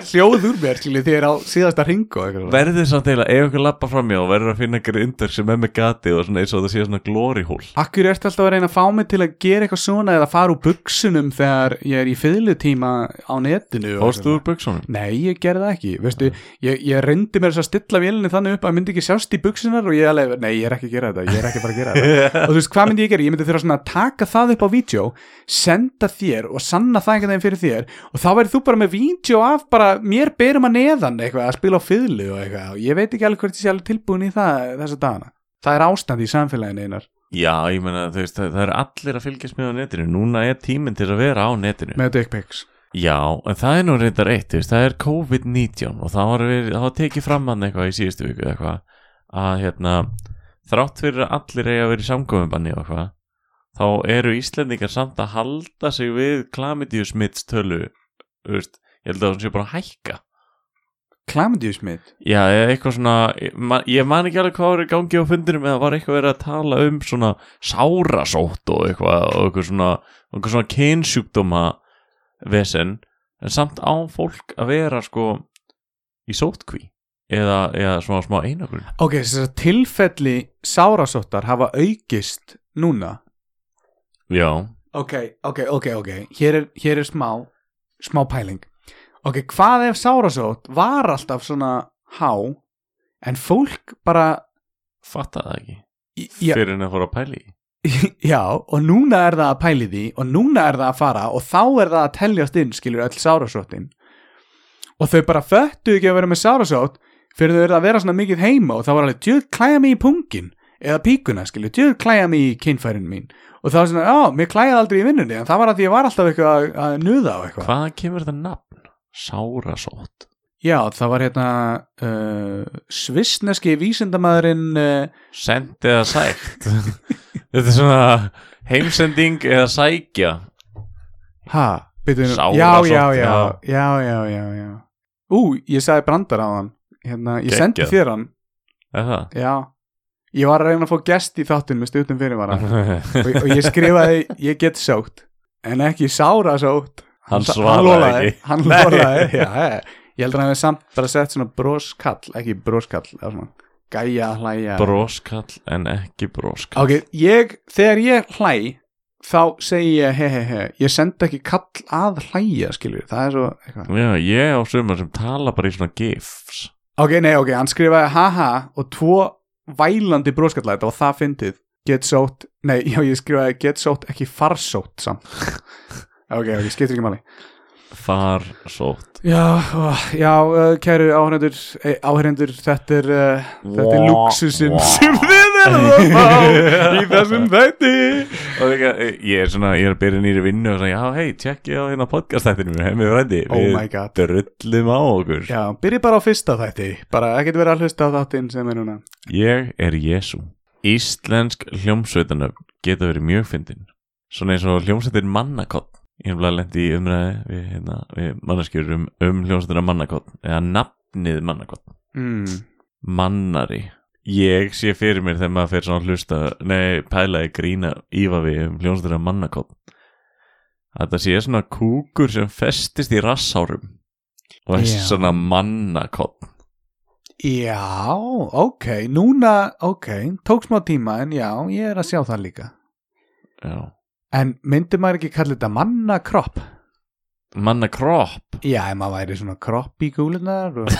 S3: hljóð úr mér, skilur, því ég er á síðasta ringu og eitthvað.
S2: Verðið samt eiginlega, ef einhver lappa fram hjá Verður að finna einhver undar sem er með gati Og svona eins og það sé svona glory hole
S3: Akkur ertu alltaf að reyna að fá mig til að gera eitthvað svona eða fara úr buksunum þegar ég er í fiðlutíma á netinu og
S2: Fórstu
S3: eitthvað.
S2: úr buksunum?
S3: Nei, ég gerði það ekki, veistu, ég, ég reyndi mér þess að stilla vélinni þannig upp að myndi ekki sjást í buksunar og ég alveg, nei, ég er ekki að gera þetta, ég er ekki að fara að gera þetta og þú veist, hvað myndi ég gera? Ég myndi þurfa svona að taka það upp á vídeo, senda þér og sanna það einhvern veginn fyrir þér og þá verður þú bara með vídeo af bara mér berum að neðan eitthvað, að spila á fiðlu og eitthvað og ég veit ekki alveg hvort ég sé alveg tilbúin í það þessa dagana. Það er ástand í samfélaginu einar
S2: Já, ég meina, þú veist, það, það eru allir að fylgjast með á netinu Núna er tíminn til að vera á netinu
S3: með dick pics.
S2: Já, en það er nú reyndar eitt, þú veist, það er COVID-19 og það var, við, það var tekið fram hann eitthvað í síðustu viku eða eitthvað að hérna, þrátt fyrir að allir eiga að vera í samkofinbanni og eitthvað þá eru Íslendingar samt að halda sig við klamidíu smittstölu, þú veist, ég held að hún sé bara að hækka
S3: klamdjúsmið
S2: já, eða eitthvað svona ég man- ég man ekki alveg hvað var í gangi á fundinum eða var eitthvað verið að tala um svona sárasótt og eitthvað og eitthvað svona, og eitthvað svona kynsjúkdóma vesen en samt á fólk að vera sko í sótkví eða, eða svona smá einagrun
S3: ok, þess að tilfelli sárasóttar hafa aukist núna
S2: já,
S3: ok, ok, ok, ok hér er, hér er smá, smá pæling ok, hvað ef sárasótt var alltaf svona há en fólk bara
S2: fatta það ekki
S3: í- í-
S2: fyrir en að fóra að pæli
S3: Já, og núna er það að pæli því og núna er það að fara og þá er það að teljast inn, skilur öll sárasóttin og þau bara föttu ekki að vera með sárasótt fyrir þau eru að vera svona mikið heima og þá var alveg djöð klæja mig í pungin eða píkuna, skilur, djöð klæja mig í kynfærin mín og þá var svona, já, mér klæjaði aldrei í vinnunni en það var að því ég var alltaf eitthvað að, að nuða á eitthvað
S2: hvaðan kemur þetta nafn? sárasótt
S3: Já, það var hérna uh, svissneski vísindamaðurinn uh,
S2: Send eða sækt Þetta er svona heimsending eða sækja
S3: ha, byrju nú-
S2: Sárasótt,
S3: já, já, já, já,
S2: já.
S3: já, já, já, Ú, ég sagði brandar á hann hérna, ég sendi
S2: Geggjað.
S3: þér hann
S2: Er það?
S3: já, ég var að reyna að fá gest í þáttun með stuttum fyrirvara og,
S2: Hann
S3: og ég skrifaði, ég get sótt en ekki sára sótt
S2: svaraði
S3: lofaði-
S2: ekki
S3: hann
S2: Nei.
S3: lólaði, já, já. ég heldur að hann hefði samt bara sett svona broskall, ekki broskall eða svona, gæja, hlæja
S2: Broskall en ekki broskall
S3: Ok, ég, þegar ég hlæ þá segi ég he he he ég senda ekki kall að hlæja skilur, það er svo eitthvað
S2: Já, ég á sumar sem tala bara í svona gifs
S3: Ok, nei, ok, hann skrifaði haha og tvo vælandi broskallæt og það fyndið get sótt, nei, já, ég skrifaði get sótt ekki farsótt samt Ok, ok, skiptir ekki máli
S2: Farsótt
S3: Já, ó, já, uh, kæru áhrendur áhrendur, þetta er uh, þetta er luxusinn sem þið erum að fá í þessum þætti
S2: Og líka, eh, ég er svona, ég er að byrja nýri vinnu og svona, já, hei, tjekkið á hérna podcastættinu Hei, mér ræði,
S3: Oh my god
S2: drullum á okkur
S3: Já, byrjið bara á fyrsta þætti bara ekkert verið að hlusta á þáttinn sem er núna
S2: Ég er Jésu. Íslensk hljómsveitanöfn geta verið mjög fyndin. Svona eins og hljómsveitin mannakott. Ég hef bara lendi í umræði við, hérna, við manneskjur um, um hljómsveitina mannakott. Eða nafnið mannakott.
S3: mm.
S2: Mannari. Ég sé fyrir mér þegar maður fer svona að hlusta, nei, pæla í grína ífa við um hljómsveitina mannakott. Að það sé svona kúkur sem festist í rassárum. Og
S3: Já.
S2: yeah. svona mannakott.
S3: Já, ok, núna ok, tók smá tíma en já, ég er að sjá það líka
S2: Já.
S3: En myndi maður ekki kalla þetta mannakropp?
S2: Mannakropp.
S3: Já, ef maður væri svona kropp í gúlunar og...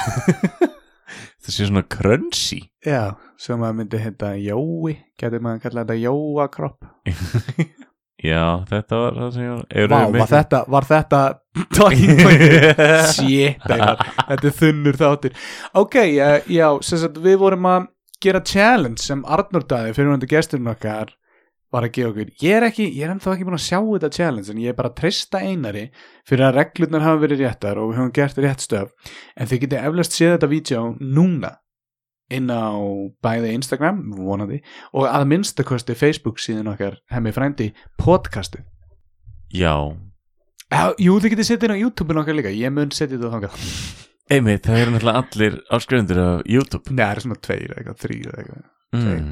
S2: Það sé svona krönsi.
S3: Já, sem maður myndi heita Jói Gæti maður að kalla þetta Jóakropp
S2: Já, þetta var það sem ég var Eru
S3: Vá,
S2: við
S3: var
S2: miklu-
S3: þetta, var þetta Tæmækir Shit, Einar, þetta er þunnur þáttir Ok, uh, já, sem sagt við vorum að gera challenge sem Arnur Dæði fyrir hundi gesturinn okkar var að gefa okkur ég er ekki, ég er ennþá ekki búin að sjá þetta challenge en ég er bara að treysta einari fyrir að reglurnar hafa verið réttar og við höfum gert rétt stöf en þið getið eflaust séð þetta vídeo núna inn á bæði Instagram, vonandi og að minnstakosti Facebook síðan okkar hemmi frændi podcastið
S2: Já
S3: Já, jú, þið getið setið inn á YouTube-un okkar líka, ég mun setja þetta þangað Nei,
S2: Einmitt, það eru náttúrulega allir áskrifundur af YouTube
S3: það er svona tveir eða eitthvað, þrýr eða eitthvað
S2: mm.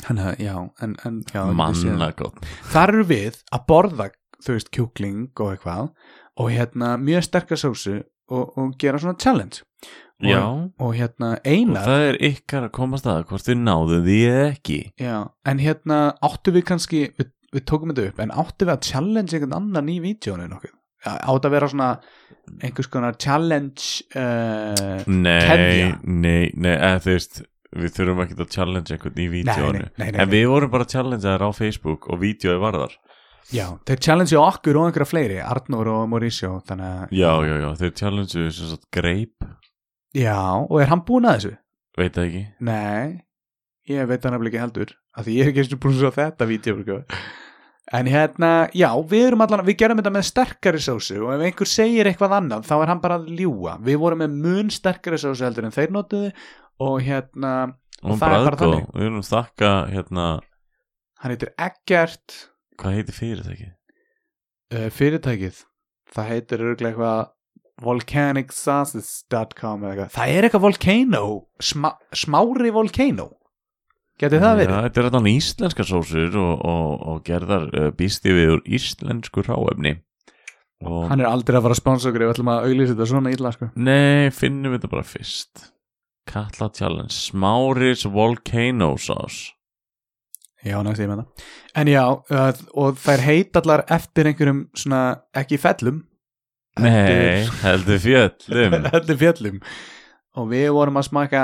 S3: Þannig að, já, en, en já, þið getið séð það.
S2: Mannakott
S3: Þar eru við að borða, þú veist, kjúkling og eitthvað Og hérna, mjög sterkar sósu og, og gera svona challenge Og-
S2: Já
S3: Og hérna,
S2: Og
S3: einar
S2: það er ykkar að komast að hvort þið náðu því eða ekki
S3: Já, en hérna, áttu við kannski, við, við tókum þetta upp En áttu við að challenge einhvern annan í vídjónu nokkuð Já, Átt að vera svona einhvers konar challenge uh,
S2: Nei,
S3: Tefja.
S2: nei, nei, eða þú veist Við þurfum ekki að challenge einhvern í vídjónu
S3: nei, nei, nei,
S2: En við vorum bara að challenge þær á Facebook og vídjói varðar
S3: Já, þeir challenge okkur og einhverja fleiri Arnur og Mauricio þannig að
S2: Já, já, já, þeir challenge þess að greip
S3: Já, og er hann búinn að þessu?
S2: Veit það ekki
S3: Nei, ég veit hann ekki heldur af því ég er ekki eins og búin svo þetta vídeo sko. En hérna, já, við erum allan við gerum þetta með sterkari sósu og ef einhver segir eitthvað annað, þá er hann bara að ljúga Við vorum með mun sterkari sósu heldur en þeir notuðu og hérna,
S2: Og
S3: það er bara
S2: bræðgóð,
S3: þannig.
S2: við erum þakka hérna
S3: hann heitir Eggert eh,
S2: Hvað heitir fyrirtækið?
S3: uh, fyrirtækið það heitir örglega eitthvað volcanicsausage.com eða eitthvað það er eitthvað volcano sma, smári volcano getið það verið?
S2: Já, þetta er þetta íslenska sósur og, og, og gerðar uh, býsti við úr íslensku ráefni og
S3: hann er aldrei að fara að sponsa okkur við ætlum að auglýsa þetta svona illa sko
S2: nei, finnum við þetta bara fyrst Katla Challenge, Smáris Volcano Sauce
S3: já, næst ég með það en já, uh, og þær heit allar eftir einhverjum svona ekki fellum
S2: Nei, heldur fjöllum
S3: Þetta er fjöllum og við vorum að smaka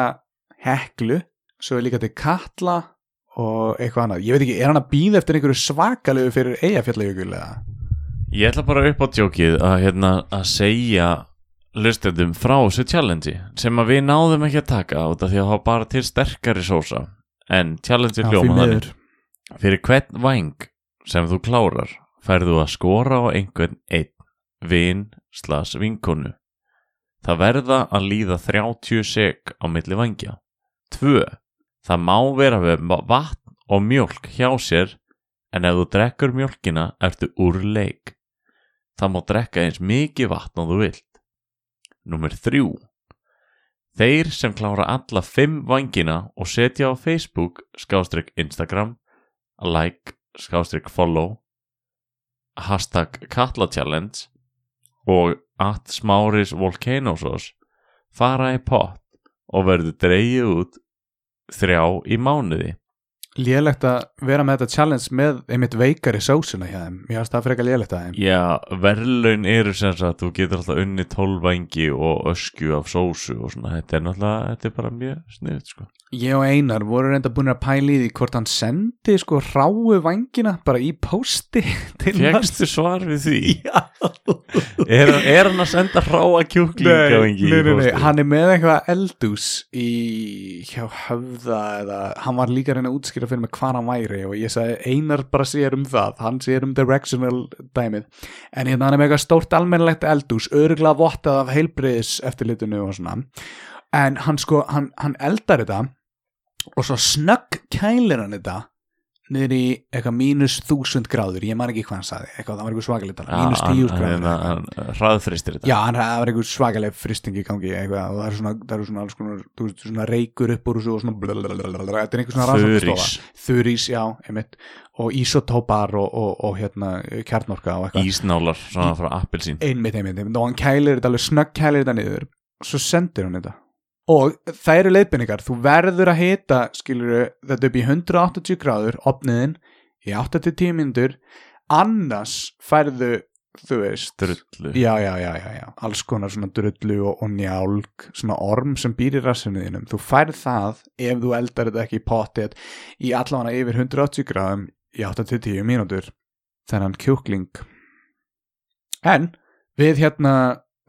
S3: heklu svo er líka til katla og eitthvað annað, ég veit ekki, er hann að býða eftir einhverju svakalegu fyrir eigafjallajökul eða?
S2: Ég ætla bara upp á tjókið að, hérna, að segja hlustendum frá þessu challenge sem að við náðum ekki að taka út af því að það var bara til sterkari sósa en challenge
S3: Já,
S2: hljóma
S3: því
S2: þannig
S3: miður.
S2: Fyrir hvern væng sem þú klárar færðu að skora á einhvern einn vin slas vinkonu. Það verða að líða 30 sek á milli vangja. 2. Það má vera með ma- vatn og mjólk hjá sér en ef þú drekkur mjólkina ertu úr leik. Það má drekka eins mikið vatn og þú vilt. Númer 3. Þeir sem klára alla 5 vangina og setja á Facebook, skástrík Instagram like, skástrík follow hashtag Katla Challenge og at smáris volcanosos fara í pott og verður dreigið út þrjá í mánuði
S3: lélegt að vera með þetta challenge með einmitt veikari sósuna hjá þeim ég ást að freka lélegt að þeim
S2: Já, verðlaun eru sem sagt þú getur alltaf unni tólvængi og öskju af sósu og svona þetta er náttúrulega, þetta er bara mjög sniðut sko.
S3: ég og Einar voru reynda búin að pæli því hvort hann sendi sko ráu vangina bara í pósti til
S2: Fjöxtu svar við því
S3: Já
S2: er, er hann að senda ráa kjúklinga
S3: nei, nei, nei, hann er með eitthvað eldús í hjá höfða eða hann var líka að reyna að útskýra fyrir mig hvað hann væri og ég sagði einar bara sér um það hann sér um directional dæmið en hérna hann er með eitthvað stórt almennilegt eldús öruglega vottað af heilbriðis eftirlitinu og svona en hann sko, hann, hann eldar þetta og svo snögg kælir hann þetta niður í eitthvað mínus þúsund gráður ég man ekki hvað hann sagði, eitthvað það var eitthvað svakalitala mínus tíu gráður eitthvað.
S2: hraðfristir þetta
S3: Já, hann það var einhver svakaleg fristing í gangi eitthvað, og það eru svona, það eru svona alls konar þú veist, svona reykur upp úr þessu og svona blablabla, þetta er einhver svona rannsóknstofa
S2: Þurís,
S3: Þurís, já, einmitt og ísotópar og, og, og hérna kjarnorka og eitthvað
S2: ísnálar svona frá appelsín
S3: einmitt, einmitt, einmitt, og hann kælir þetta alveg snögg kælir þetta niður, svo sendir hann þetta og það eru leiðbendingar þú verður að hita, skilur þetta upp í 180 gráður, opniðin í 8-10 mínútur annars færðu þú veist
S2: drullu
S3: já, já, já, já, já, alls konar svona drullu og, og njálg, svona orm sem býr í rassinu þínum, þú færð það ef þú eldar þetta ekki í pottet í allavega yfir 180 gráðum í 8-10 mínútur þennan kjúkling en við hérna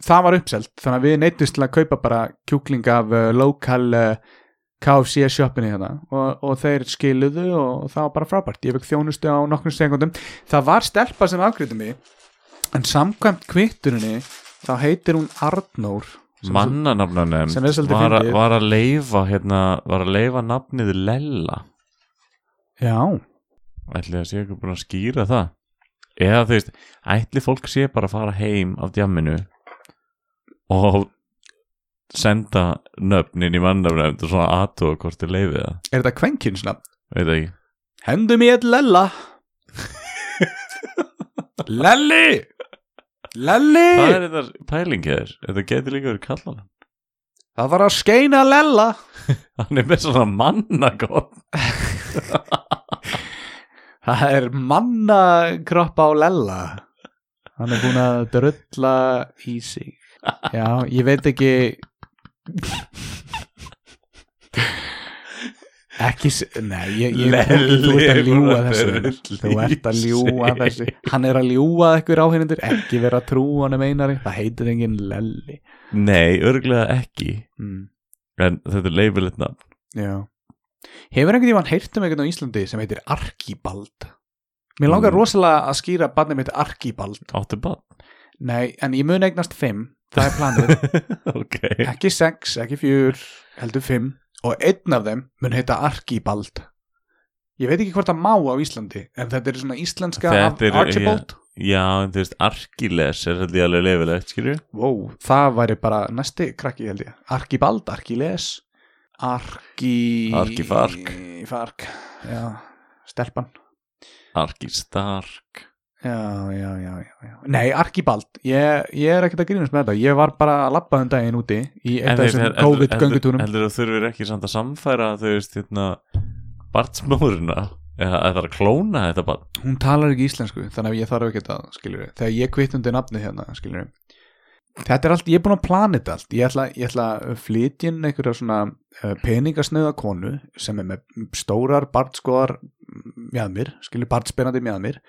S3: það var uppselt, þannig að við neittist til að kaupa bara kjúkling af uh, lokal uh, KFC shoppinni hérna og, og þeir skiluðu og það var bara frábært, ég fekk þjónustu á nokkrum sekundum það var stelpa sem afgriði mig En samkvæmt kvitturinni þá heitir hún Arnór sem- sem er
S2: mannanafnanefnd
S3: svolítið
S2: var, að-
S3: fyndið.
S2: var að leifa hérna, var að leifa nafnið Lella
S3: Já,
S2: ætli að sé ekki búin að skýra það eða þú veist, ætli fólk sé bara að fara heim af djamminu og senda nöfnin í mannafnanefnd og svona aðtóa hvort þið leifið það
S3: er þetta kvenkinsnafn?
S2: veit ekki,
S3: Hendu mér Lella Lelli Lelli
S2: hvað
S3: Það,
S2: er þetta pælingi þér? Þetta getur líka verið kallan
S3: var að skeina Lella
S2: hann er með svona mannagott
S3: Það er mannakroppa á Lella Hann er búin að drulla í sig Já, ég veit ekki Ekki, s- nei, ég, ég
S2: Lelli
S3: þú ert
S2: er
S3: að ljúga
S2: búinn að
S3: þessu
S2: drulla í
S3: Þú ert að ljúga
S2: sig.
S3: þessu Hann er að ljúga ekkur áhengendur Ekki vera að trúa honum einari Það heitir enginn Lelli
S2: nei, örglega ekki
S3: mm,
S2: en þetta er leifilegt nafn
S3: Já Hefur einhvern tímann heyrt um einhvern á Íslandi sem heitir Arkibald? Mér langar
S2: Mm.
S3: rosalega að skýra barnið mitt Arkibald
S2: áttu bann
S3: Nei, en ég mun eignast fimm Það er planið
S2: ok
S3: ekki sex, ekki fjör heldur fimm og einn af þeim mun heita Arkibald ég veit ekki hvort það má á Íslandi en þetta er svona íslenska
S2: Þetta
S3: af
S2: eru-
S3: Archibald
S2: já, en þú veist, Arkiles er held ég alveg leifilegt, skilju
S3: wow, það væri bara næsti krakki held ég Arkibald, Arkiles Arki...
S2: Arkifark.
S3: Fark, já, stelpan
S2: Arkistark
S3: Já, já, já, já, já. Nei, Arkibald, ég, ég er ekkert að grínast með þetta Ég var bara að labba um daginn úti í eitt af þessum COVID-göngutúrum
S2: Heldur þú þurfir ekki samt að samfæra þú veist, hérna barnsmóðurina eða eða það er að klóna þetta barn
S3: hún talar ekki íslensku þannig að ég þarf ekki að skiljur þegar ég kvitt undir nafni hérna skiljur þetta er allt, ég er búin að plana þetta allt ég ætla, ég ætla að flytja inn einhverja svona uh, peningasnöða konu sem er með stórar barnskoðar mjadmir, skiljur barnspennandi mjadmir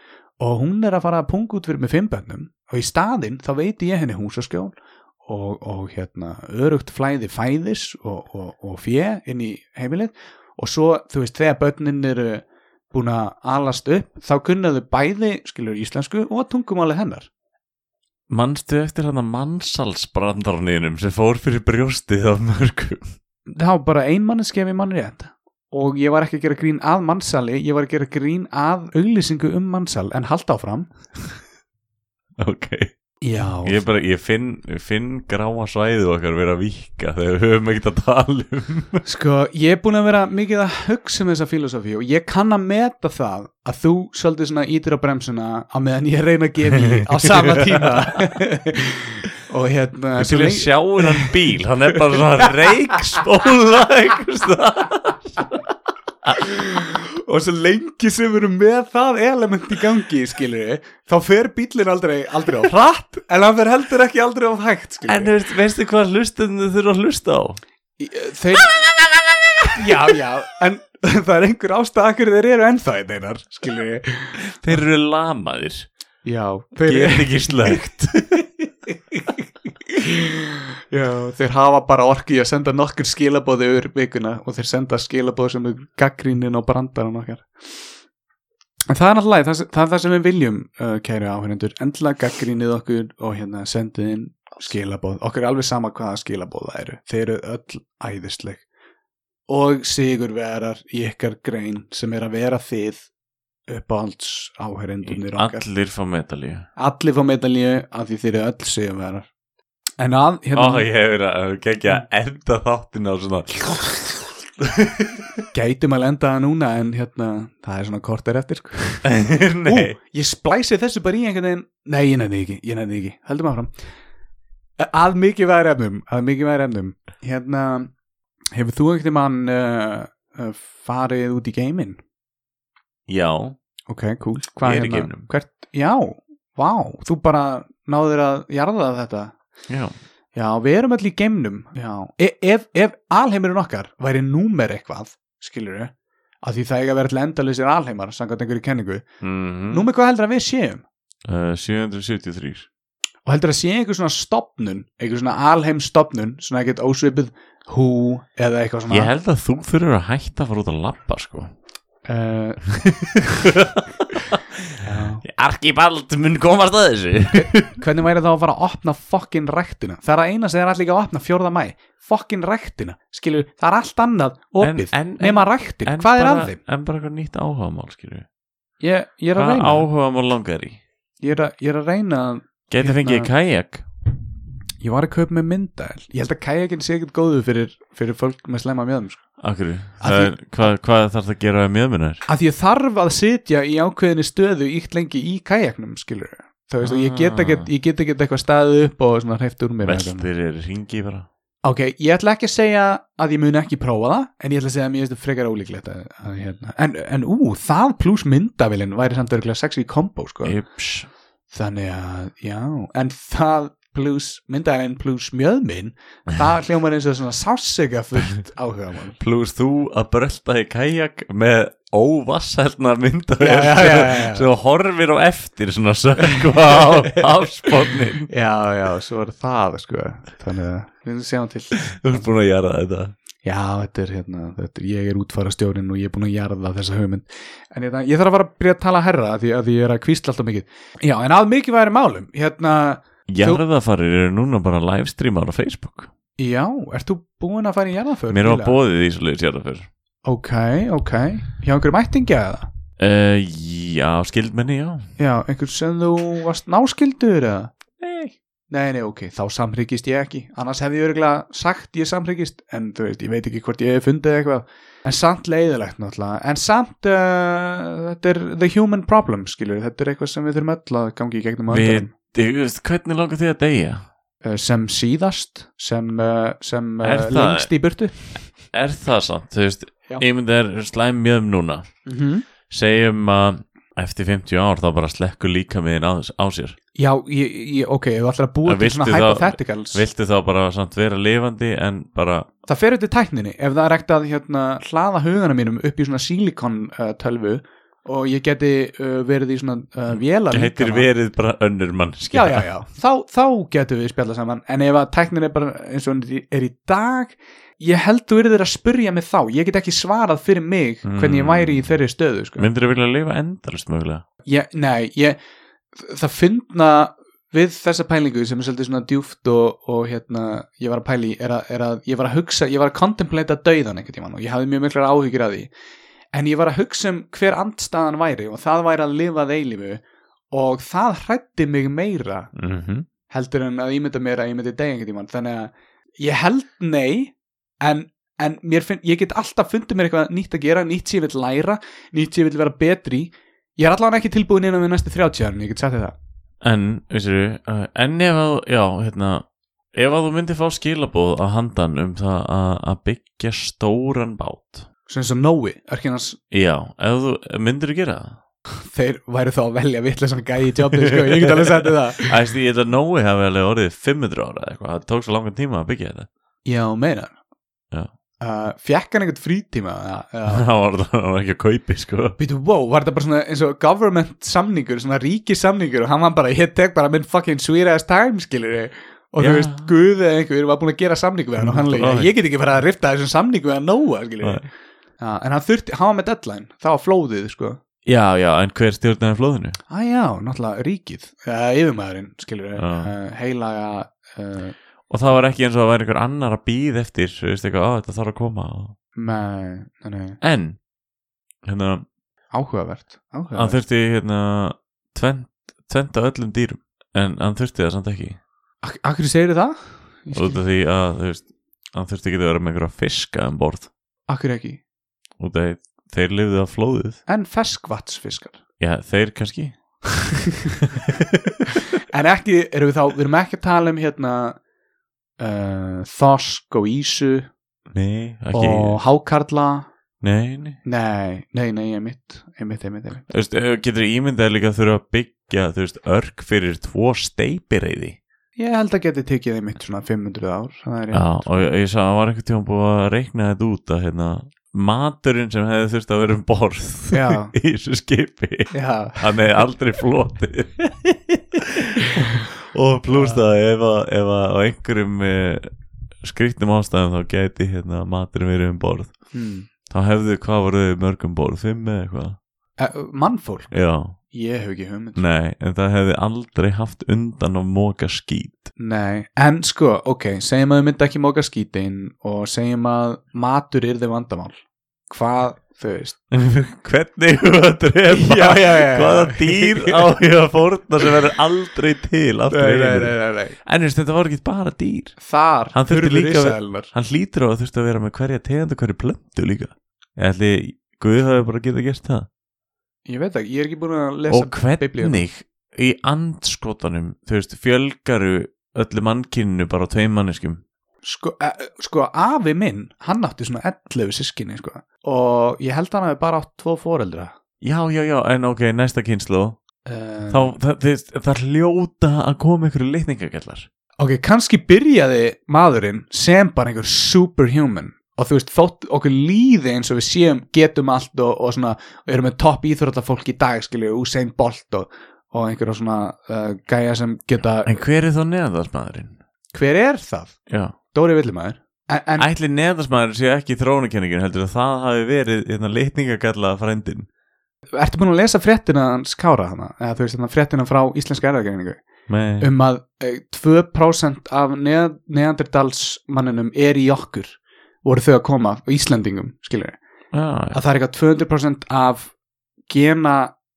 S3: og hún er að fara að punga út fyrir með fimm bönnum og í staðinn þá veit ég henni húsaskjól og, og hérna örugt flæði fæðis og, og, og fjö inn í heimilið og svo þú veist þegar börnin eru búin að alast upp þá kunnaðu bæði skilur íslensku og tungumáli hennar
S2: Manstu eftir hann að mannsalsbrandarninum sem fór fyrir brjóstið af mörgum
S3: þá bara einmanneskef í manni rétt og ég var ekki að gera grín að mannsali ég var að gera grín að auglýsingu um mannsal en halda áfram
S2: Ok,
S3: já,
S2: ég bara, ég finn, ég finn gráa svæðið okkar vera að víka þegar við höfum ekkert að tala um
S3: sko ég er búin að vera mikið að hugsa um þessa filosofi og ég kann að meta það að þú svolítið svona ítir á bremsuna á meðan ég reyna að gefa í á sama tíma og hérna
S2: Ég
S3: svo
S2: til að
S3: lengi-
S2: sjá um hann bíl, hann er bara svona reikspóla einhvers það
S3: og svo lengi sem við erum með það element í gangi, skilur þá fer bílinn aldrei, aldrei á hratt en hann fer heldur ekki aldrei á hægt, skilur
S2: En þú veist, veistu hvað hlustundu þurfa að hlusta á?
S3: eh, þeir já, já, en það er einhver ástæða akkur þeir eru ennþá einn einar, skilur
S2: Þeir eru lamaðir,
S3: já, þeir,
S2: get ekki slögt
S3: já, þeir hafa bara orki að senda nokkur skilabóði yfir vikuna og þeir senda skilabóði sem er gaggrínin og brandaran okkar En það er alltaf lagi, það, sem- það er það sem við viljum, uh, kæru áhörindur, endilega gaggrínið okkur og hérna sendið inn skilabóð. Okkur er alveg sama hvaða skilabóð það eru. Þeir eru öll æðisleg. Og sigurverar í ykkar grein sem er að vera þið upp á alls áhörindunir okkar.
S2: Allir fá medalíu
S3: Allir fá medalíu af því þeir eru öll sigurverar. En að,
S2: Ó,
S3: hérna,
S2: ég hefur að gegja að enda þáttin á svona
S3: gætum að lenda það núna en hérna, það er svona kortar eftir sko. Ú,
S2: Nei
S3: ég splæsi þessu bara í einhvern veginn Nei, ég nefni ekki, ég nefni ekki, heldum áfram Að mikið væri efnum Að mikið væri efnum Hérna, hefur þú ekkert mann uh, uh, farið út í geiminn?
S2: Já,
S3: Ok, cool hérna?
S2: Ég er í geimnum.
S3: Hvert, já, vá, þú bara náður að jarða þetta
S2: já
S3: Já, við erum öll í geimnum Já, e ef, ef alheimurinn okkar væri númer eitthvað, skilur við að því það eiga að vera til endalausir alheimar samkvæmt einhverju kenningu,
S2: Mhm.
S3: nú með hvað heldur að við séum
S2: Uh, 773
S3: og heldur að sé einhver svona stopnun einhver svona alheim stopnun svona ekkert ósvipið hú eða eitthvað svona
S2: Ég held að þú þurfur að hætta að fara út að labba sko
S3: uh, já.
S2: Arkibald mun komast að þessu
S3: hvernig væri þá að fara að opna fokkin rektina það er að eina sem er allir ekki að opna fjórða mæ fokkin rektina, skilur, það er allt annað opið,
S2: En- en-
S3: nema rektin, hvað er
S2: bara,
S3: að þeim?
S2: En bara eitthvað nýtt áhugamál skilju
S3: Ég, ég er að
S2: Hvað
S3: reyna,
S2: áhugamál langar í?
S3: ég er að, ég er að reyna að
S2: Geti fengið kajak
S3: ég var að kaupa með myndaðil ég held að kæjakin sé ekkert góðu fyrir, fyrir fólk með slemma mjöðum, sko
S2: Akkur,
S3: Af
S2: hvað, Eh, hvað, hvað þarf það að gera með mjöðmunar?
S3: að ég þarf að sitja í ákveðinni stöðu íkt lengi í kajaknum skilur þá veist að ég get ekki, ég get ekki eitthvað staðið upp og svona hreift úr mér
S2: Veltir er ringi bara
S3: ok, ég ætla ekki að segja að ég mun ekki prófa það en ég ætla að segja að mér finnst frekar ólíklegt að, að, hérna. en, en ú, það pluss myndavilin væri samt örgulega sexy kombo sko.
S2: Yps
S3: þannig að, já en það pluss myndavilin pluss mjöðmin það hljómar eins og svona sásega fullt áhuga mál
S2: Plus þú að brölda í kajak með óvasshelna myndavél
S3: Já, já, já, já, já.
S2: sem horfir á eftir svona sökva á afspotnin
S3: já, já, svo er það sko. þannig að, við sjáum til
S2: Þú ert búin að gera þetta
S3: Já, þetta er hérna, þetta er, ég er útfæra stjórin og ég er búin að jarða þessa hugmynd en hérna, ég þarf að fara að byrja að tala herra af því, af því ég er að kvísla alltaf mikið Já, en að mikið væri málum, hérna
S2: Jarðafarir eru núna bara livestreamar á Facebook
S3: Já, ert þú búin að fara í jarðaför?
S2: Mér var
S3: Fíla?
S2: bóðið í svo leiðis jarðaför
S3: Ok, ok, hjá einhverjum ættingja eða?
S2: Uh, já, skildmenni, já
S3: Já, einhvern sem þú varst náskildur eða?
S2: Nei
S3: Nei, nei, ok, þá samhryggist ég ekki annars hefði ég örgulega sagt ég samhryggist en þú veist, ég veit ekki hvort ég hef fundið eitthvað en samt leiðilegt náttúrulega en samt, uh, þetta er the human problem, skilur, þetta er eitthvað sem við þurfum öll að gangi í gegnum á
S2: Við-
S3: endanum.
S2: Þú veist, hvernig langar þið að deyja?
S3: Uh, sem síðast sem, uh, sem
S2: Er
S3: uh,
S2: það-
S3: lengst í burtu
S2: Er það samt, þú veist,
S3: Já.
S2: ímynd er slæm mjög um núna
S3: mm -hmm.
S2: Segjum að eftir 50 ár þá bara slekkur líka miðin á, á sér
S3: Já, ég, ég, ok, ef þú ætlar að búa
S2: En
S3: til svona
S2: viltu þá-
S3: hypotheticals
S2: Viltu þá bara samt vera lifandi en bara
S3: það fer auðvitað tækninni ef það er ekkert að hérna, hlaða hugana mínum upp í svona silikon uh, tölvu og ég geti uh, verið í svona uh, vélar
S2: Mm. heitir verið bara önnur mannskja
S3: já, já, já, þá, þá getum við spjallað saman en ef að tæknin er bara eins og hún er í- er í dag ég held þú verður að spurja mig þá ég get ekki svarað fyrir mig hvernig
S2: Mm.
S3: ég væri í þeirri stöðu sko.
S2: Myndir þú vilja lifa endalist mögulega?
S3: ég, nei, ég það finna við þessa pælingu sem er svolítið svona djúft og, og hérna, ég var að pæli er að, er að ég var að hugsa, ég var að contemplata döiðan einhvern tímann og ég hafði mjög miklar áhyggjur af því en ég var að hugsa um hver andstaðan væri og það væri að lifa að eilifu og það hrætti mig meira
S2: Mm -hmm.
S3: heldur en að ímynda mér að ég myndi degja einhvern tímann þannig að ég held nei en, en mér finn, ég get alltaf fundið mér eitthvað nýtt að gera, nýtt sem ég vil læra nýtt sem ég vil vera betri í. ég er allavega ekki tilbúin innan við næstu 30 árin ég get sagt þér það
S2: En, veistu, uh, en ef að, já, hérna Ef að þú myndir fá skilaboð á handan um það að, að byggja stóran bát
S3: sem svo Nói, örkinans
S2: Já, ef þú, myndir þú gera það?
S3: þeir væru þá að velja vitleysan gæi í jobbið sko, ég get alveg sagt þér það
S2: Æstu, ég held að Nói hafi alveg orðið 500 ára eða eitthvað, það tók svo langan tíma að byggja þetta
S3: já, meina
S2: Já.
S3: uh, fekk hann einhvern frítíma uh,
S2: Það var það var ekki að kaupi, sko
S3: Býtu, wow, var þetta bara svona eins og government samningur, svona ríkisamningur og hann var bara, ég tek bara minn fucking sweet ass time, skilur og
S2: Já. Mm,
S3: þú veist, Guð eða einhver var búin að gera samning við hann og hann leik,
S2: Right.
S3: ég get ekki bara að rifta þessum samning við hann nóa, skilur
S2: Right.
S3: Já, en hann þurfti, hann var með deadline, það var flóðið, sko
S2: Já, já, en hver stjórnaði flóðinu?
S3: Æ, já, náttúrulega ríkið, uh, yfirmaðurinn, skilur
S2: Já.
S3: uh, heilaga uh,
S2: Og það var ekki eins og að væri einhver annar að býð eftir, þú veist eitthvað, á, þetta þarf að koma og...
S3: með, nei, nei,
S2: En, hérna,
S3: áhugavert
S2: hann
S3: áhugavert,
S2: þurfti, hérna, tvent, tvent að öllum dýrum En hann þurfti það samt ekki
S3: Ak- akkur segir það? Ég skil-
S2: Út af því að, þú veist, hann þurfti ekki að vera með einhverja fiska um borð
S3: Akkur ekki,
S2: Út af því þeir lifðu á flóðið
S3: en ferskvatsfiskar
S2: Já, þeir kannski
S3: En ekki, erum við þá, við erum ekki að tala um hérna uh, Þosk og Ísu
S2: Nei, ekki
S3: og Hákarla
S2: Nei, nei
S3: Nei, nei, nei, ég mitt, ég mitt, ég mitt, ég mitt.
S2: Þú veist, eh, getur ímyndað líka að þurfa að byggja, þú veist, örk fyrir tvo steipireiði.
S3: Ég held að geti tekið þið mitt svona 500 ár það er
S2: Já,
S3: rétt.
S2: og ég, ég sá að var einhvern tíma búið að reikna þetta út að, hérna, maturinn sem hefði þurft að vera um borð
S3: Já.
S2: í þessu skipi,
S3: Já,
S2: hann hefði aldrei flotið. og pluss það, ef að, ef að á einhverjum eh, skrýttum ástæðum þá gæti, hérna, maturinn verið um borð.
S3: hmm.
S2: Þá hefðu, hvað voruð þau mörgum borð? Fimm eða eitthvað?
S3: uh, Mannfólk,
S2: Já,
S3: ég hef ekki hugmynd
S2: nei, en það hefði aldrei haft undan að móka skít.
S3: Nei, en sko, ok, segjum að þau myndi ekki móka skítin og segjum að matur yrði vandamál Hvað, þau veist
S2: hvernig hefur að drepa
S3: já, já
S2: hvaða dýr á ég að fórna sem verður aldrei til aftur
S3: Nei,
S2: í
S3: nei,
S2: heiminum?
S3: nei, nei, nei.
S2: en veist, þetta var ekki bara dýr
S3: Þar
S2: Hann þurfti
S3: hurfu
S2: líka að-
S3: risaeðlurnar.
S2: hann hlýtur á að þurfti að vera með hverja tegund og hverju plöntu líka ég ætli Guð hafi bara getað gert það
S3: Ég veit ekki, ég er ekki búin að lesa
S2: og hvernig
S3: biblíuna.
S2: í andskotanum þú veist, fjölgaru öllu mannkyninu bara á tveim manneskum
S3: Sko, e, sko, afi minn, hann átti svona 11 sískinni, sko Og ég held hann hafi bara átt tvo foreldra
S2: já, já, já, en ok, næsta kynslu
S3: um,
S2: þá, það, það, það hljóta að koma ykkur litningagellar
S3: Ok, kannski byrjaði maðurinn sem bara einhver superhuman Og þú veist, þótt okkur líði eins og við séum, getum allt og, og svona Og erum með topp íþróttafólk í dag, skilju, Usain Bolt og, og einhverja svona uh, gæja sem geta
S2: en hver er þá neðaðsmaðurinn?
S3: Hver er það?
S2: já
S3: Dóri Villimæður En, en
S2: Ætli neðarsmaður sé ekki þróunakenningin heldur að það hafi verið hérna, litningagalla frændin
S3: ertu búin að lesa fréttina hans Kára hana? Eða þú veist, þarna fréttina frá Íslenska erðagreiningu
S2: Nei,
S3: um að eh, 2% af neð, neanderdalsmanninum er í okkur voru þau að koma á Íslendingum skilur
S2: já, já.
S3: að það er eitthvað 200% af gena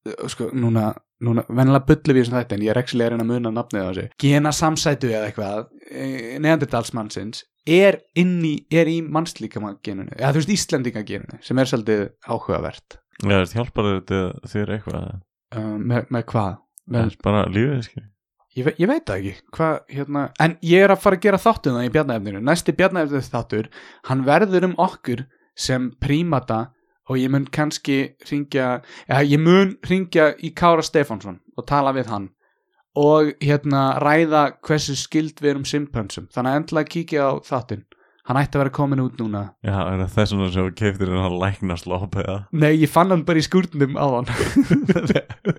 S3: uh, sko, núna, núna vennilega bullu við sem þetta en ég er ekki að reyna að muna nafnið á þessu gena samsætu eða eitthvað eh, neandertalsmannsins er inn í, er í mannslíkamageninu eða þú veist Íslendingageninu sem er svolítið áhugavert
S2: Já, þetta hjálpar þetta þér eitthvað
S3: uh, með, með hvað?
S2: Það
S3: Með,
S2: er bara lífið, skil
S3: Ég, ve ég veit það ekki, hvað, hérna, en ég er að fara að gera þáttum það í bjarnaefninu, næsti bjarnaefninu þáttur, hann verður um okkur sem prímata og ég mun kannski ringja, eða ég mun ringja í Kára Stefánsson og tala við hann og hérna ræða hversu skild við erum simpönsum, þannig að endla að kíkja á þáttin, hann ætti að vera komin út núna.
S2: Já, er það þess vegna sem þú keiftir en hann læknast lópa eða
S3: Nei, ég fann hann bara í skúrnum á hann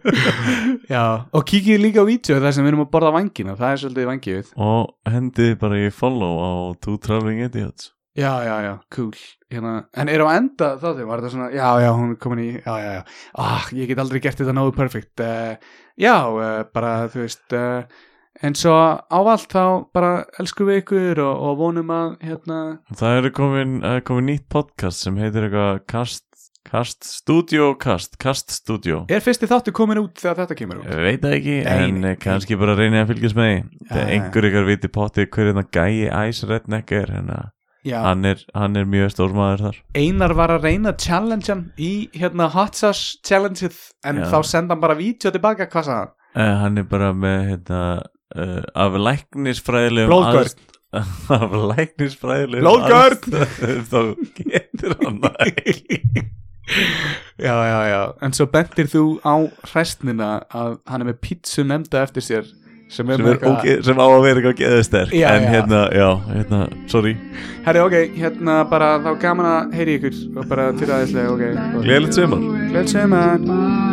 S3: Já, og kíkið líka á vítjó þar sem við erum að borða vangina, það er svolítið vangið
S2: Og hendiði bara í follow á Two Traveling Idiots
S3: Já, já, já, cool hérna, En er á enda þáttum, var þetta svona Já, já, hún er komin í, já, já, já ah, Ég get aldrei gert þetta nógu perfekt uh, Já, uh, bara, þú veist uh, En svo ávallt þá bara elskum við ykkur og, og vonum að hérna,
S2: Það eru komin, uh, komin nýtt podcast sem heitir eitthvað Cast, Cast Studio Cast, Cast Studio
S3: er fyrsti þáttu komin út þegar þetta kemur út
S2: Ég veit það ekki,
S3: Nei,
S2: en
S3: nei.
S2: nei. kannski bara reynið að fylgjast með því ja,
S3: Já, já.
S2: Einhver ykkar viti potti hverju þannig gæi Ice Redneck er en að
S3: Já,
S2: hann er, hann er mjög stór maður þar
S3: Einar var að reyna challengean í hérna hot sauce challengeið en
S2: Já.
S3: þá senda hann bara vítjó tilbaka, hvað sagði hann?
S2: uh, Hann er bara með hérna, uh, af læknisfræðilegum
S3: Blóðgörn
S2: aðst- Af læknisfræðilegum
S3: Blóðgörn!
S2: aðstæðum, Þá getur hann það ekki
S3: Já, já, já, en svo bentir þú á hræstnina að hann er með pítsu nefnda eftir sér sem er
S2: sem,
S3: með
S2: er,
S3: eitthvað-
S2: óge- sem á að vera eitthvað geðusterk
S3: Já,
S2: En
S3: já.
S2: hérna, já, hérna, sorry
S3: Herri, ok, hérna bara þá gaman að heyri ykkur og bara til aðeinslega, ok
S2: Gleðilegt sumar
S3: Gleðsum að
S1: Bye.